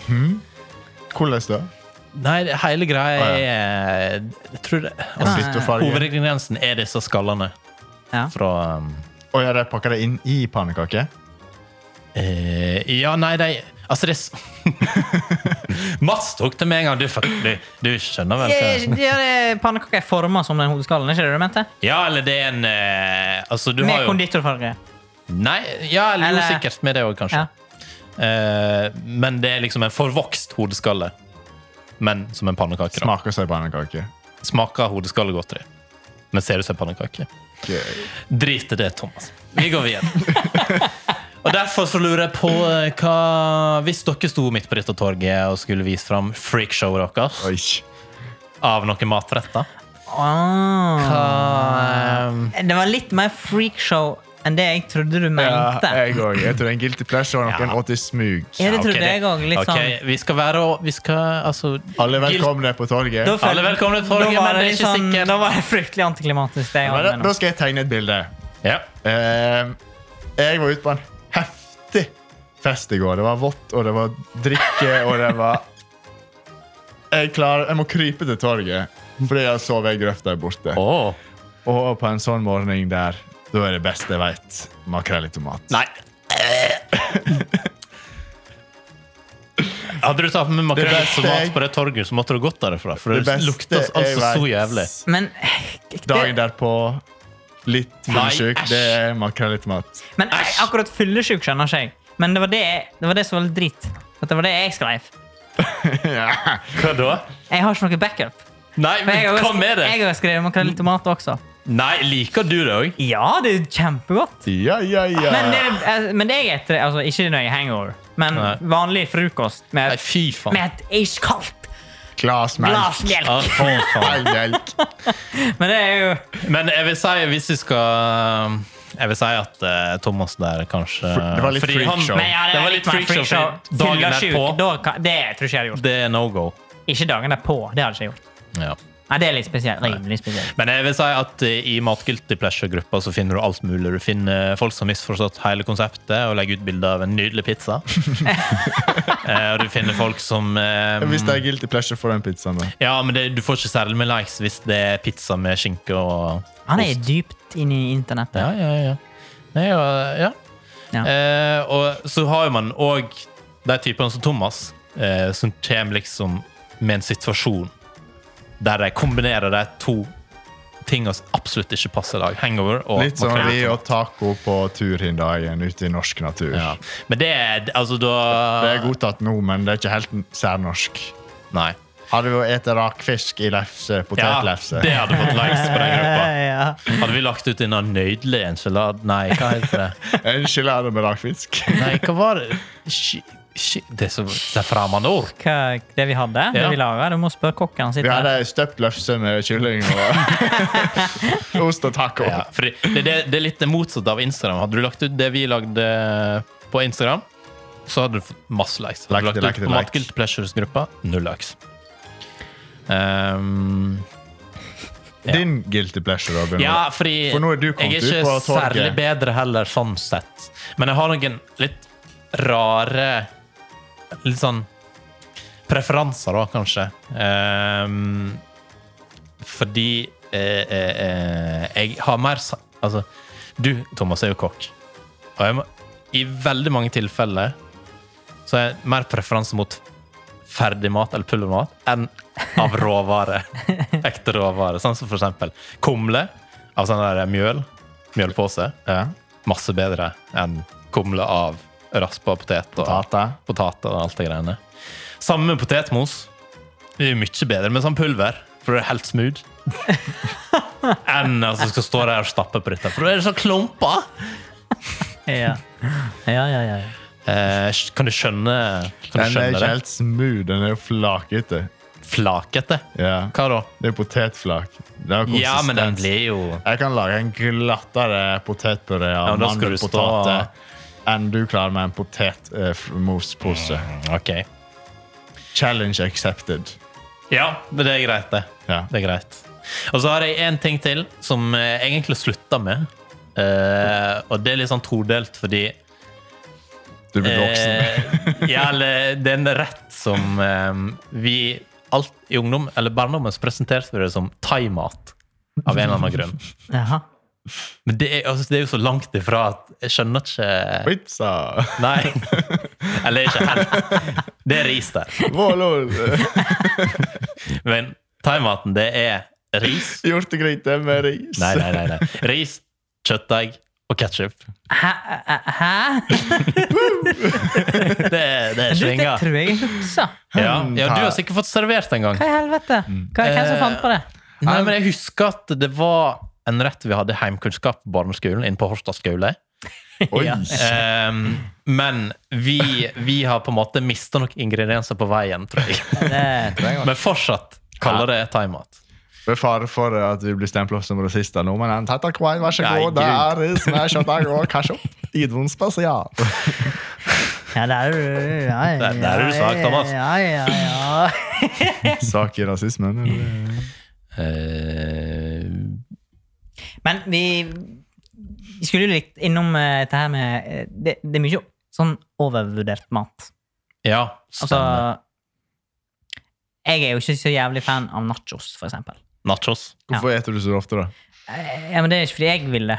Speaker 2: Hvordan da?
Speaker 1: Nei, det hele greia
Speaker 2: Ah,
Speaker 1: er eh, Jeg tror det
Speaker 2: Og
Speaker 1: altså,
Speaker 2: bytte farge?
Speaker 1: Hovedingrediensen er disse skallene
Speaker 3: ja.
Speaker 1: fra um,
Speaker 2: Og ja, de pakker det inn i pannekake?
Speaker 1: eh, Ja, nei, de Altså, det er s- Mats tok det med en gang. Du, fuck, du, du skjønner vel hva
Speaker 3: Eh, ja, det er Pannekaker er forma som den hodeskallen, er ikke det du mente?
Speaker 1: Ja, eller det er en eh, Altså, du
Speaker 3: Med
Speaker 1: har jo
Speaker 3: konditorfarge.
Speaker 1: Nei, ja, eller,
Speaker 3: Eller-
Speaker 1: jo sikkert med det òg, kanskje.
Speaker 3: Ja.
Speaker 1: Eh, men det er liksom en forvokst hodeskalle. Men som en pannekake. da.
Speaker 2: Smaker seg pannekake.
Speaker 1: Smaker hodeskallegodteri. Men ser ut som en pannekake.
Speaker 2: Gøy.
Speaker 1: Drit i det, Thomas. Vi går videre. og derfor så lurer jeg på eh, hva Hvis dere sto midt på dette torget og skulle vise fram freakshowet deres
Speaker 2: Oi.
Speaker 1: av noen matretter
Speaker 3: Ah.
Speaker 1: hva,
Speaker 2: Ehm,
Speaker 1: eh,
Speaker 3: Det var litt mer freakshow enn det jeg trodde du
Speaker 2: Ja,
Speaker 3: mente.
Speaker 2: jeg òg. Jeg tror en guilty pleasure var noen
Speaker 1: Ja.
Speaker 2: åt i smug.
Speaker 3: Ja, det
Speaker 1: ok,
Speaker 3: trodde jeg liksom. òg. Litt sånn.
Speaker 1: ok, Vi skal være og Vi skal altså
Speaker 2: Alle velkomne på torget.
Speaker 3: sånn.
Speaker 1: Alle velkomne til torget,
Speaker 3: Da var
Speaker 1: men det er
Speaker 3: litt sånn-
Speaker 1: ikke sikkert.
Speaker 3: Da var det fryktelig antiklimatisk. det jeg
Speaker 2: Men da,
Speaker 3: hadde med
Speaker 2: da
Speaker 3: nå.
Speaker 2: skal jeg tegne et bilde.
Speaker 1: Ja.
Speaker 2: Eh, jeg var ute på en heftig fest i går. Det var vått, og det var drikke, og det var Jeg klarer, jeg må krype til torget, fordi jeg sover i grøfta der borte.
Speaker 1: Åh.
Speaker 2: Og på en sånn morgen der, da er det beste jeg veit, makrell i tomat.
Speaker 1: Nei. Hadde du tatt med makrell
Speaker 2: Det
Speaker 1: i
Speaker 2: beste
Speaker 1: tomat
Speaker 2: jeg-
Speaker 1: på det torget, så måtte du gått derfra. For
Speaker 2: Det
Speaker 1: det,
Speaker 2: beste
Speaker 1: lukter
Speaker 2: jeg
Speaker 1: altså så
Speaker 2: vet.
Speaker 1: jævlig.
Speaker 3: Men, eh,
Speaker 2: Dagen
Speaker 3: det,
Speaker 2: derpå, litt
Speaker 1: Nei,
Speaker 2: fyllesyk,
Speaker 1: æsj.
Speaker 2: det er makrell i tomat.
Speaker 3: men eh, akkurat fyllesjuk skjønner ikke jeg. Men det var det, det var det som var litt dritt. At det var det jeg skrev.
Speaker 2: Ja.
Speaker 1: Hva da?
Speaker 3: Jeg har ikke noe backup.
Speaker 1: Nei,
Speaker 3: For
Speaker 1: men
Speaker 3: jeg har
Speaker 1: hva
Speaker 3: jo-
Speaker 1: med det?
Speaker 3: Jeg har jo skrevet makrell i tomat også.
Speaker 1: Nei, liker du det òg?
Speaker 3: Ja, det er kjempegodt.
Speaker 2: Ja, ja, ja.
Speaker 3: Men det, eh, men det jeg etter, altså ikke når jeg er hangover, men
Speaker 1: Nei.
Speaker 3: vanlig frokost
Speaker 1: Nei,
Speaker 3: med,
Speaker 1: fy faen.
Speaker 3: med et iskaldt
Speaker 2: Glass melk.
Speaker 3: glass melk.
Speaker 1: Ja, faen, faen.
Speaker 2: All melk.
Speaker 3: Men det er jo
Speaker 1: Men jeg vil si, hvis vi skal Jeg vil si at eh, Thomas der kanskje
Speaker 2: For- det var litt
Speaker 1: fordi han-
Speaker 2: freakshow.
Speaker 3: Men ja,
Speaker 1: Det var litt
Speaker 3: mer
Speaker 1: freakshow.
Speaker 3: freakshow.
Speaker 1: fordi Dagen
Speaker 3: Fyller
Speaker 1: derpå,
Speaker 3: sjuk, da kan- Det tror ikke jeg hadde gjort.
Speaker 1: det er no go.
Speaker 3: Ikke dagen derpå. Det hadde ikke jeg gjort.
Speaker 1: Ja.
Speaker 3: Nei, det er litt spesielt. Rimelig spesielt.
Speaker 1: Men jeg vil si at eh, i Matguilty Pleasure-gruppa så finner du alt mulig. Du finner folk som har misforstått hele konseptet og legger ut bilder av en nydelig pizza. Eh, Og du finner folk som eh,
Speaker 2: Hvis det er guilty pleasure for den pizzaen, da.
Speaker 1: Ja, men det, du får ikke særlig med likes hvis det er pizza med skinke og
Speaker 3: Han er
Speaker 1: ost.
Speaker 3: dypt inne i
Speaker 1: Ja,
Speaker 3: internettet.
Speaker 1: ja, ja. Nei, ja, ja.
Speaker 3: Ja.
Speaker 1: Eh, og så har jo man òg de typene som Thomas, eh, som kommer liksom med en situasjon der de kombinerer de to tingene som absolutt ikke passer i dag. Hangover og
Speaker 2: Litt som
Speaker 1: makrell.
Speaker 2: vi og taco på turhindagen ute i norsk natur.
Speaker 1: Ja. Men det er altså da
Speaker 2: Det er godtatt nå, men det er ikke helt særnorsk.
Speaker 1: Nei.
Speaker 2: Hadde vi å ete rakfisk i lefse,
Speaker 1: Ja,
Speaker 2: potetlefse
Speaker 1: det hadde fått likes på den gruppa.
Speaker 3: ja.
Speaker 1: Hadde vi lagt ut en nøydelig enchilad Nei, hva heter det?
Speaker 2: En gelade med rakfisk.
Speaker 1: Nei, hva var det? Sk- sk- Det er så det er fremmede ord.
Speaker 3: Hva, det vi hadde, det
Speaker 1: Ja.
Speaker 3: vi laga. Du må spørre kokken. Han
Speaker 2: Vi
Speaker 3: sitter
Speaker 2: hadde støpt lefse med kylling og ost og taco.
Speaker 1: Ja, for det, det, det er litt det motsatte av Instagram. Hadde du lagt ut det vi lagde på Instagram, så hadde du fått masse likes. Hadde du lagt
Speaker 2: Likes, likes,
Speaker 1: ut på
Speaker 2: likes.
Speaker 1: Matguilt Pleasures-gruppa, null likes. Ehm,
Speaker 2: Din guilty pleasure, Robin.
Speaker 1: Ja, fordi
Speaker 2: For nå er du kommet
Speaker 1: jeg er
Speaker 2: ut
Speaker 1: ikke
Speaker 2: på torget.
Speaker 1: særlig bedre heller, sånn sett. Men jeg har noen litt rare Litt sånn preferanser, da, kanskje. Ehm, fordi eh, eh, eh, jeg har mer sa- Altså, du, Thomas, er jo kokk. Og jeg må, i veldig mange tilfeller så har jeg mer preferanse mot ferdigmat eller pulvermat enn av råvare. Ekte råvare. Sånn som for eksempel kumle av sånn der mjøl. Mjølpose.
Speaker 2: Ja.
Speaker 1: Masse bedre enn kumle av raspa potet og
Speaker 2: Tata.
Speaker 1: poteter og alt det greiene. Samme med potetmos. Det er mye bedre med sånn pulver, for det er helt smooth. Enn at du skal stå der og stappe på dette. For da er det så klumpa!
Speaker 3: der. Ja. Ja, ja, ja.
Speaker 1: Eh, kan du skjønne, kan du
Speaker 2: Den er
Speaker 1: skjønne
Speaker 2: ikke
Speaker 1: det?
Speaker 2: helt smooth, den er jo flakete.
Speaker 1: Flakete?
Speaker 2: Ja.
Speaker 1: Hva da?
Speaker 2: Det er potetflak. Det er
Speaker 1: Ja, men den
Speaker 2: konsistens.
Speaker 1: blir jo
Speaker 2: Jeg kan lage en glattere potetpuré
Speaker 1: Ja,
Speaker 2: av
Speaker 1: da skal du
Speaker 2: mandelpotet enn du klarer med en eh, potetmospose.
Speaker 1: Ok.
Speaker 2: Challenge accepted.
Speaker 1: Ja, men det er greit, det.
Speaker 2: Ja.
Speaker 1: Det er greit. Og så har jeg en ting til som jeg egentlig slutta med. Eh, og det er litt sånn todelt fordi
Speaker 2: Du blir voksen.
Speaker 1: eh, ja, eller det er en rett som eh, vi alt i ungdom, eller barndommen så presenterte vi det som thaimat. Av en eller annen grunn.
Speaker 3: Jaha.
Speaker 1: Men det er, altså, det er jo så langt ifra at jeg skjønner ikke
Speaker 2: Pizza!
Speaker 1: Nei. Eller ikke helt. Det er ris der.
Speaker 2: Vålol!
Speaker 1: Men thaimaten, det er ris.
Speaker 2: Hjortegryte med ris.
Speaker 1: Nei, nei, nei. nei. Ris, kjøttdeig og ketsjup.
Speaker 3: Hæ? Hæ?
Speaker 1: Det er, det er
Speaker 3: Du, det
Speaker 1: svinga.
Speaker 3: tror jeg jeg husker.
Speaker 1: Ja, ja, du har sikkert fått servert en gang.
Speaker 3: Hva i helvete?
Speaker 1: Mm.
Speaker 3: Hva, hvem som fant på det?
Speaker 1: Nei, men jeg husker at det var en rett vi hadde i heimkunnskap på barneskolen inne på Horstad skole.
Speaker 2: Oi.
Speaker 3: Ja.
Speaker 1: Ehm, men vi, vi har på en måte mista noen ingredienser på veien, tror jeg.
Speaker 3: Eh, Det tror jeg
Speaker 1: Men fortsatt kaller det thaimat.
Speaker 2: Med fare for at vi blir stempla som rasister nå, men en tatakwain, vær så
Speaker 1: Nei,
Speaker 2: god. Det er ris med kjøttdeig og ketchup. Idun spesial.
Speaker 3: Ja, der er du ja, ja,
Speaker 1: Der- der er du svak, Thomas.
Speaker 3: Ja, ja, ja.
Speaker 2: Sak i rasismen. eller?
Speaker 1: Eh,
Speaker 3: Men vi, vi skulle jo litt innom eh, dette her med eh, det, det er mye sånn overvurdert mat.
Speaker 1: ja.
Speaker 3: Altså
Speaker 1: stemmer.
Speaker 3: Jeg er jo ikke så jævlig fan av nachos, for eksempel.
Speaker 1: Nachos.
Speaker 2: Hvorfor eter du så ofte, da?
Speaker 3: Eh, Ja, men det er ikke fordi jeg vil det.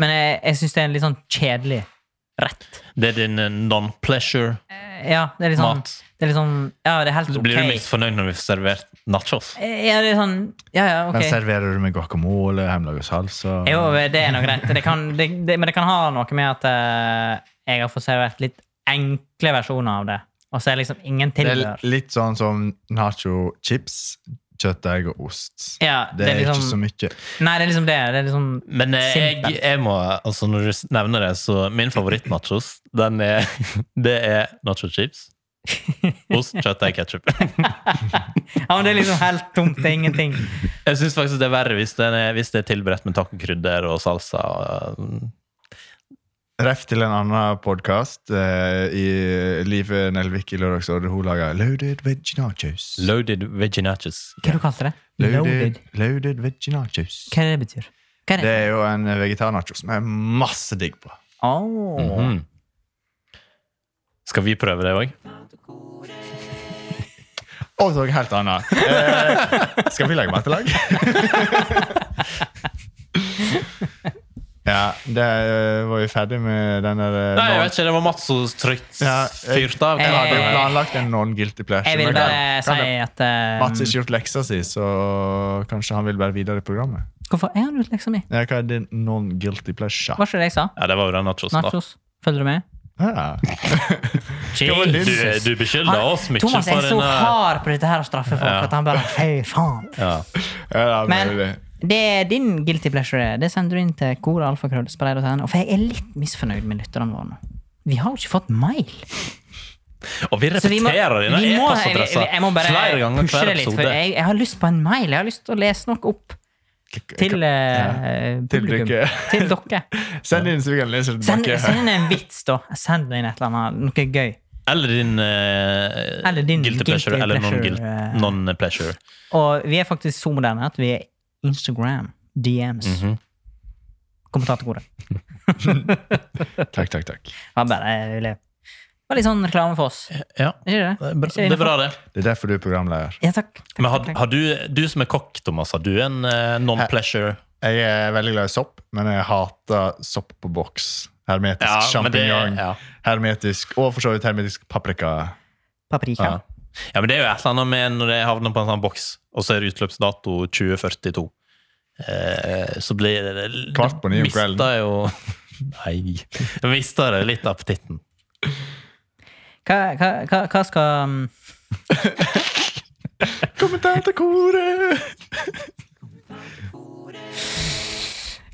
Speaker 3: Men jeg, jeg syns det er en litt sånn kjedelig rett.
Speaker 1: Det er din eh, non-pleasure-mat.
Speaker 3: Eh, Ja, det er litt sånn, det er litt sånn Ja, det er helt
Speaker 1: Så
Speaker 3: ok.
Speaker 1: blir du misfornøyd når vi får servert nachos.
Speaker 3: Eh, Ja, det er sånn Ja, ja, ok.
Speaker 2: Men serverer du med guacamole, hjemmelaga salsa?
Speaker 3: Jo, det er nå greit. Det kan, det, det, men det kan ha noe med at eh, jeg har fått servert litt enkle versjoner av det. Og så er det liksom ingen
Speaker 2: Det er
Speaker 3: tilbehør.
Speaker 2: litt sånn som nacho chips, kjøttdeig og ost.
Speaker 3: Ja,
Speaker 2: Det er ikke så
Speaker 3: liksom,
Speaker 2: mye.
Speaker 3: nei, det er liksom det. Det er liksom
Speaker 1: Men eh, jeg,
Speaker 3: Simpelt.
Speaker 1: jeg må, altså når du s- nevner det, så min favoritt-nachos, den er, det er nacho chips. Ost, kjøttdeig, ketsjup.
Speaker 3: Ja, men det er liksom helt tomt. Det er ingenting.
Speaker 1: Jeg syns faktisk det er verre hvis, den er, hvis det er tilberedt med tacokrydder og salsa. eh, og,
Speaker 2: Ref til en annen podkast eh, i Live Nelvik i Lørdagsrådet. Hun lager loaded veg nachos.
Speaker 1: eh, Loaded veginachos.
Speaker 3: Hva du kalte du det?
Speaker 2: Loaded, loaded veg nachos.
Speaker 3: Hva er det det betyr? Hva er
Speaker 2: Det
Speaker 3: det?
Speaker 2: er jo en vegetarnacho som er masse digg på.
Speaker 3: Åh.
Speaker 1: Mhm. Skal vi prøve det òg?
Speaker 2: Og noe helt annet. Eh, skal vi lage mattelag? ja, det eh, var vi ferdig med den der eh,
Speaker 1: Nei, jeg
Speaker 2: non-
Speaker 1: vet ikke. Det var Mats som trygt
Speaker 2: Ja, jeg-
Speaker 1: fyrte av. Eh,
Speaker 2: Jeg
Speaker 1: Ja,
Speaker 2: hadde jo
Speaker 1: det-
Speaker 2: planlagt en non-guilty pleasure.
Speaker 3: Eh, Jeg
Speaker 2: men
Speaker 3: vil bare
Speaker 2: kan-
Speaker 3: si
Speaker 2: kan det-
Speaker 3: at eh,
Speaker 2: Mats har ikke gjort leksa si, så kanskje han vil være videre i programmet.
Speaker 3: Hvorfor er han ute leksa mi?
Speaker 2: Ja, hva er din non-guilty pleasure?
Speaker 3: Var ikke det jeg sa?
Speaker 1: Ja, det var jo den nachosen, da.
Speaker 3: Nachos. Følger du med?
Speaker 2: Ja. var
Speaker 1: Du,
Speaker 2: din?
Speaker 1: du beskylder
Speaker 3: Han-
Speaker 1: oss mye for
Speaker 3: Thomas er så
Speaker 1: denne
Speaker 3: hard på dette her å straffe folk
Speaker 1: Ja.
Speaker 3: at han bare Fy faen.
Speaker 1: ja.
Speaker 2: Ja, det er
Speaker 3: Men-
Speaker 2: mulig.
Speaker 3: Det er din guilty pleasure. det. Det sender du inn til koralfakrøllspareid.no. For jeg er litt misfornøyd med lytterne våre nå. Vi har jo ikke fått mail.
Speaker 1: Og vi
Speaker 3: Så vi må,
Speaker 1: repeterer dine
Speaker 3: vi må-
Speaker 1: e-postadresser
Speaker 3: jeg- jeg må bare
Speaker 1: flere ganger
Speaker 3: pushe
Speaker 1: hver
Speaker 3: det litt, for
Speaker 1: episode.
Speaker 3: jeg, jeg har lyst på en mail. Jeg har lyst til å lese noe opp til eh,
Speaker 2: Til
Speaker 3: publikum.
Speaker 2: dere.
Speaker 3: Til dere.
Speaker 2: Send inn så vi kan lese det
Speaker 3: Send, send
Speaker 2: tilbake.
Speaker 3: inn en vits, da. Send inn et eller annet. Noe gøy.
Speaker 1: Eller din, eh,
Speaker 3: Eller din
Speaker 1: guilty pleasure,
Speaker 3: guilty
Speaker 1: eller
Speaker 3: pleasure, eh.
Speaker 1: non-guilt- non-pleasure.
Speaker 3: Og vi er faktisk så moderne at vi er Instagram, DMs,
Speaker 1: Mhm.
Speaker 3: kommentatorkoret.
Speaker 2: Takk, takk, takk.
Speaker 3: Det var bare jeg ville Det var litt sånn reklame for oss. Er
Speaker 1: Ja,
Speaker 3: ikke
Speaker 1: det
Speaker 3: det?
Speaker 1: er bra, det, er bra det.
Speaker 2: Det er derfor du er programleder.
Speaker 3: Ja, takk. takk,
Speaker 1: Men har,
Speaker 3: takk, takk.
Speaker 1: har du, du som er kokk, Thomas, har du en eh, non-pleasure?
Speaker 2: Jeg er veldig glad i sopp, men jeg hater sopp på boks. Hermetisk
Speaker 1: Ja, men det,
Speaker 2: sjampinjong.
Speaker 1: ja.
Speaker 2: Hermetisk, og for så vidt hermetisk paprika.
Speaker 3: Paprika.
Speaker 1: Ja. ja, men det er jo et eller annet med når det havner på en sånn boks, og så er det utløpsdato 2042. Eh, så blir det, det
Speaker 2: Kvart på ni om
Speaker 1: mister
Speaker 2: kvelden.
Speaker 1: Jo, nei. Jeg mister det litt appetitten.
Speaker 3: Hva, hva, hva, hva skal um,
Speaker 2: Kommentatorkoret!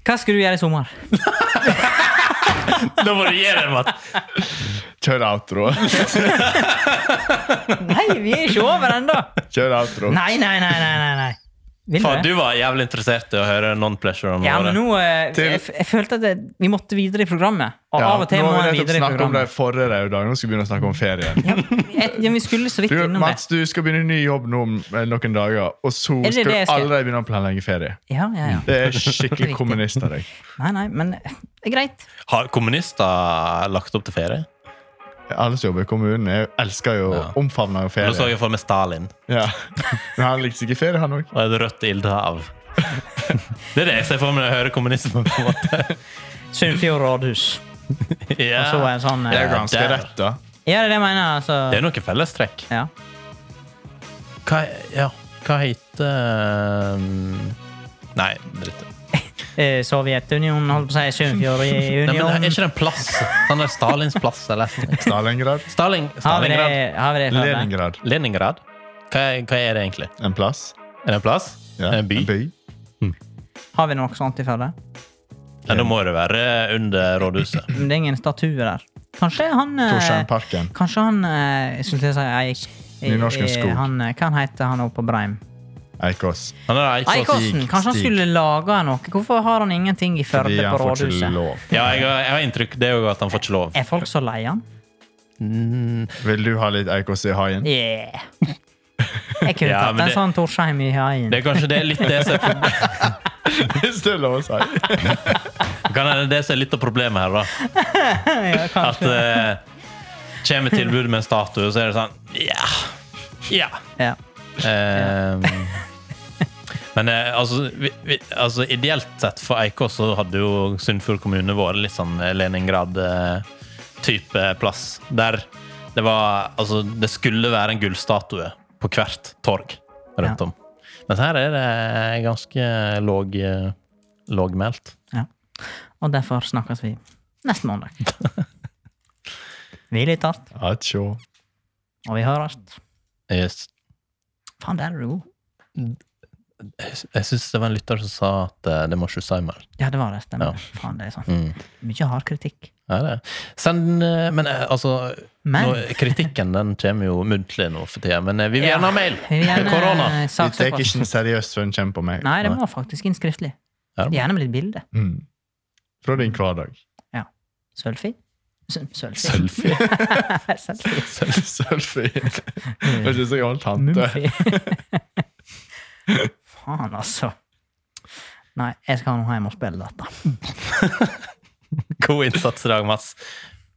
Speaker 3: Hva skal du gjøre i sommer?
Speaker 1: Da må du gi deg, Matt.
Speaker 2: Kjør outro.
Speaker 3: Nei, vi er ikke over ennå!
Speaker 2: Kjør outro.
Speaker 3: Nei, nei, nei, nei, nei, nei. Vil
Speaker 1: Faen,
Speaker 3: du
Speaker 1: du
Speaker 3: det?
Speaker 1: var jævlig interessert i å høre Non-Pleasure om
Speaker 3: Ja, men
Speaker 1: året.
Speaker 3: nå, eh,
Speaker 2: Til-
Speaker 3: jeg, f- jeg følte at det- vi måtte videre i programmet. Og
Speaker 2: Ja,
Speaker 3: av og til
Speaker 2: nå
Speaker 3: må
Speaker 2: har vi nettopp
Speaker 3: vi videre i
Speaker 2: snakket om det
Speaker 3: programmet.
Speaker 2: forrige raudag. Nå skal vi begynne å snakke om ferien.
Speaker 3: Ja, jeg, ja, vi skulle så
Speaker 2: Du,
Speaker 3: vidt innom det.
Speaker 2: Mats, du skal begynne ny jobb nå om eh, noen dager, og så
Speaker 3: det
Speaker 2: skal du
Speaker 3: det jeg skal?
Speaker 2: allerede begynne å planlegge ferie.
Speaker 3: Ja, ja, ja.
Speaker 2: Det er skikkelig
Speaker 3: Riktig.
Speaker 2: kommunist av deg.
Speaker 3: Nei, nei, men eh, det er greit.
Speaker 1: Har kommunister lagt opp til ferie?
Speaker 2: Alle som jobber i kommunen, jeg elsker jo
Speaker 1: Ja.
Speaker 2: omfavner jo
Speaker 1: Nå så
Speaker 2: ferie.
Speaker 1: jeg for meg Stalin
Speaker 2: Ja. Men han likte ikke ferie, han òg.
Speaker 1: og et rødt ildhav. Det er det jeg ser for meg når jeg hører kommunisme. på en måte.
Speaker 3: Sunnfjord rådhus.
Speaker 1: Ja.
Speaker 3: Og så en sånn eh,
Speaker 2: Det er
Speaker 1: Ja,
Speaker 2: ganske
Speaker 1: der.
Speaker 2: rett, da.
Speaker 3: Ja, det er det jeg mener. Altså.
Speaker 1: Det er noen fellestrekk.
Speaker 3: Ja.
Speaker 1: Hva, ja, hva heter um, Nei, dritt.
Speaker 3: Eh, Sovjetunionen, holdt på å si. Sunnfjord i
Speaker 1: Nei, men er
Speaker 3: union.
Speaker 1: ikke det en plass? Han er Stalins plass, eller?
Speaker 2: Stalingrad.
Speaker 1: Stalin,
Speaker 3: Har vi det,
Speaker 1: Stalingrad?
Speaker 3: har vi det før? det?
Speaker 2: Leningrad.
Speaker 1: Leningrad? Hva er, hva er det egentlig?
Speaker 2: En plass.
Speaker 1: Er det en plass?
Speaker 2: Ja,
Speaker 1: Er det en by?
Speaker 3: Har vi noe sånt i Førde?
Speaker 1: Ja, da må det være under rådhuset.
Speaker 3: Men Det er ingen statue der. Kanskje han eh,
Speaker 2: Torsheimparken.
Speaker 3: Kanskje han eh, Jeg skulle til å si Eik. eh,
Speaker 2: Nynorsken Skog.
Speaker 3: eh, Han, eh, hva han heter han oppe på Breim?
Speaker 2: Eikås.
Speaker 1: Han er Eikås.
Speaker 3: Eikåsen! Kanskje han
Speaker 2: Stig.
Speaker 3: skulle lage noe? Hvorfor har han ingenting i
Speaker 2: Fordi
Speaker 3: Førde
Speaker 2: han
Speaker 3: på
Speaker 2: får ikke
Speaker 3: rådhuset?
Speaker 2: lov.
Speaker 1: Ja, jeg, har- jeg har inntrykk det er jo at han får ikke lov.
Speaker 3: Er folk så lei han?
Speaker 1: Mm,
Speaker 2: Vil du ha litt Eikås i haien?
Speaker 3: Yeah! Jeg kunne
Speaker 1: Ja,
Speaker 3: tatt
Speaker 1: men
Speaker 3: en
Speaker 1: det-
Speaker 3: sånn Torsheim i haien.
Speaker 1: Det er kanskje det er litt det som er proble-
Speaker 2: Hvis det er lov å si.
Speaker 1: Kan hende det som er litt av problemet her, da.
Speaker 3: Ja,
Speaker 1: At
Speaker 3: kanskje.
Speaker 1: eh, kommer tilbud med en statue, så er det sånn Ja. Ja.
Speaker 3: Ja.
Speaker 1: Ehm, men eh, altså, vi, vi, altså ideelt sett for Eikås så hadde jo Sunnfjord kommune vært litt sånn Leningrad-type plass. Der det var Altså, det skulle være en gullstatue på hvert torg rundt
Speaker 3: Ja.
Speaker 1: om. Men her er det ganske låg, eh, lågmælt.
Speaker 3: Ja. Og derfor snakkes vi neste måndag. Vi er litt hardt,
Speaker 2: Atjå.
Speaker 3: og vi høres.
Speaker 1: Jeg, s-
Speaker 3: Faen, der er du god.
Speaker 1: jeg s- jeg syns det var en lytter som sa at eh, det må ikke si mer.
Speaker 3: Ja, det var det. Stemmer.
Speaker 1: Ja.
Speaker 3: Faen, det er sånn.
Speaker 1: Mm.
Speaker 3: Mye hard kritikk.
Speaker 1: Ja, det. er. Send eh, Men eh, altså
Speaker 3: Men
Speaker 1: Nå, kritikken den kommer jo muntlig nå for tida, men eh, vi vil
Speaker 3: Ja.
Speaker 1: gjerne ha mail!
Speaker 3: vi vil gjerne
Speaker 1: Korona.
Speaker 3: eh,
Speaker 2: Vi tar
Speaker 3: saksøke
Speaker 2: ikke
Speaker 3: oss.
Speaker 2: den seriøst før den kommer på meg.
Speaker 3: Nei, det må faktisk inn skriftlig.
Speaker 1: Ja, det må.
Speaker 3: Gjerne med litt bilde.
Speaker 2: Mm. Fra din hverdag.
Speaker 3: Sølfi? Sø- Sølfi.
Speaker 1: Selfie.
Speaker 3: Sølfi.
Speaker 2: Selfie. Det er ikke så gammel tante.
Speaker 3: Mumfi. Faen, altså. Nei, jeg skal nå hjem og spille data.
Speaker 1: God innsats i dag, Mats.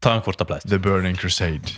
Speaker 1: Ta en kort applaus.
Speaker 2: The Burning Crusade.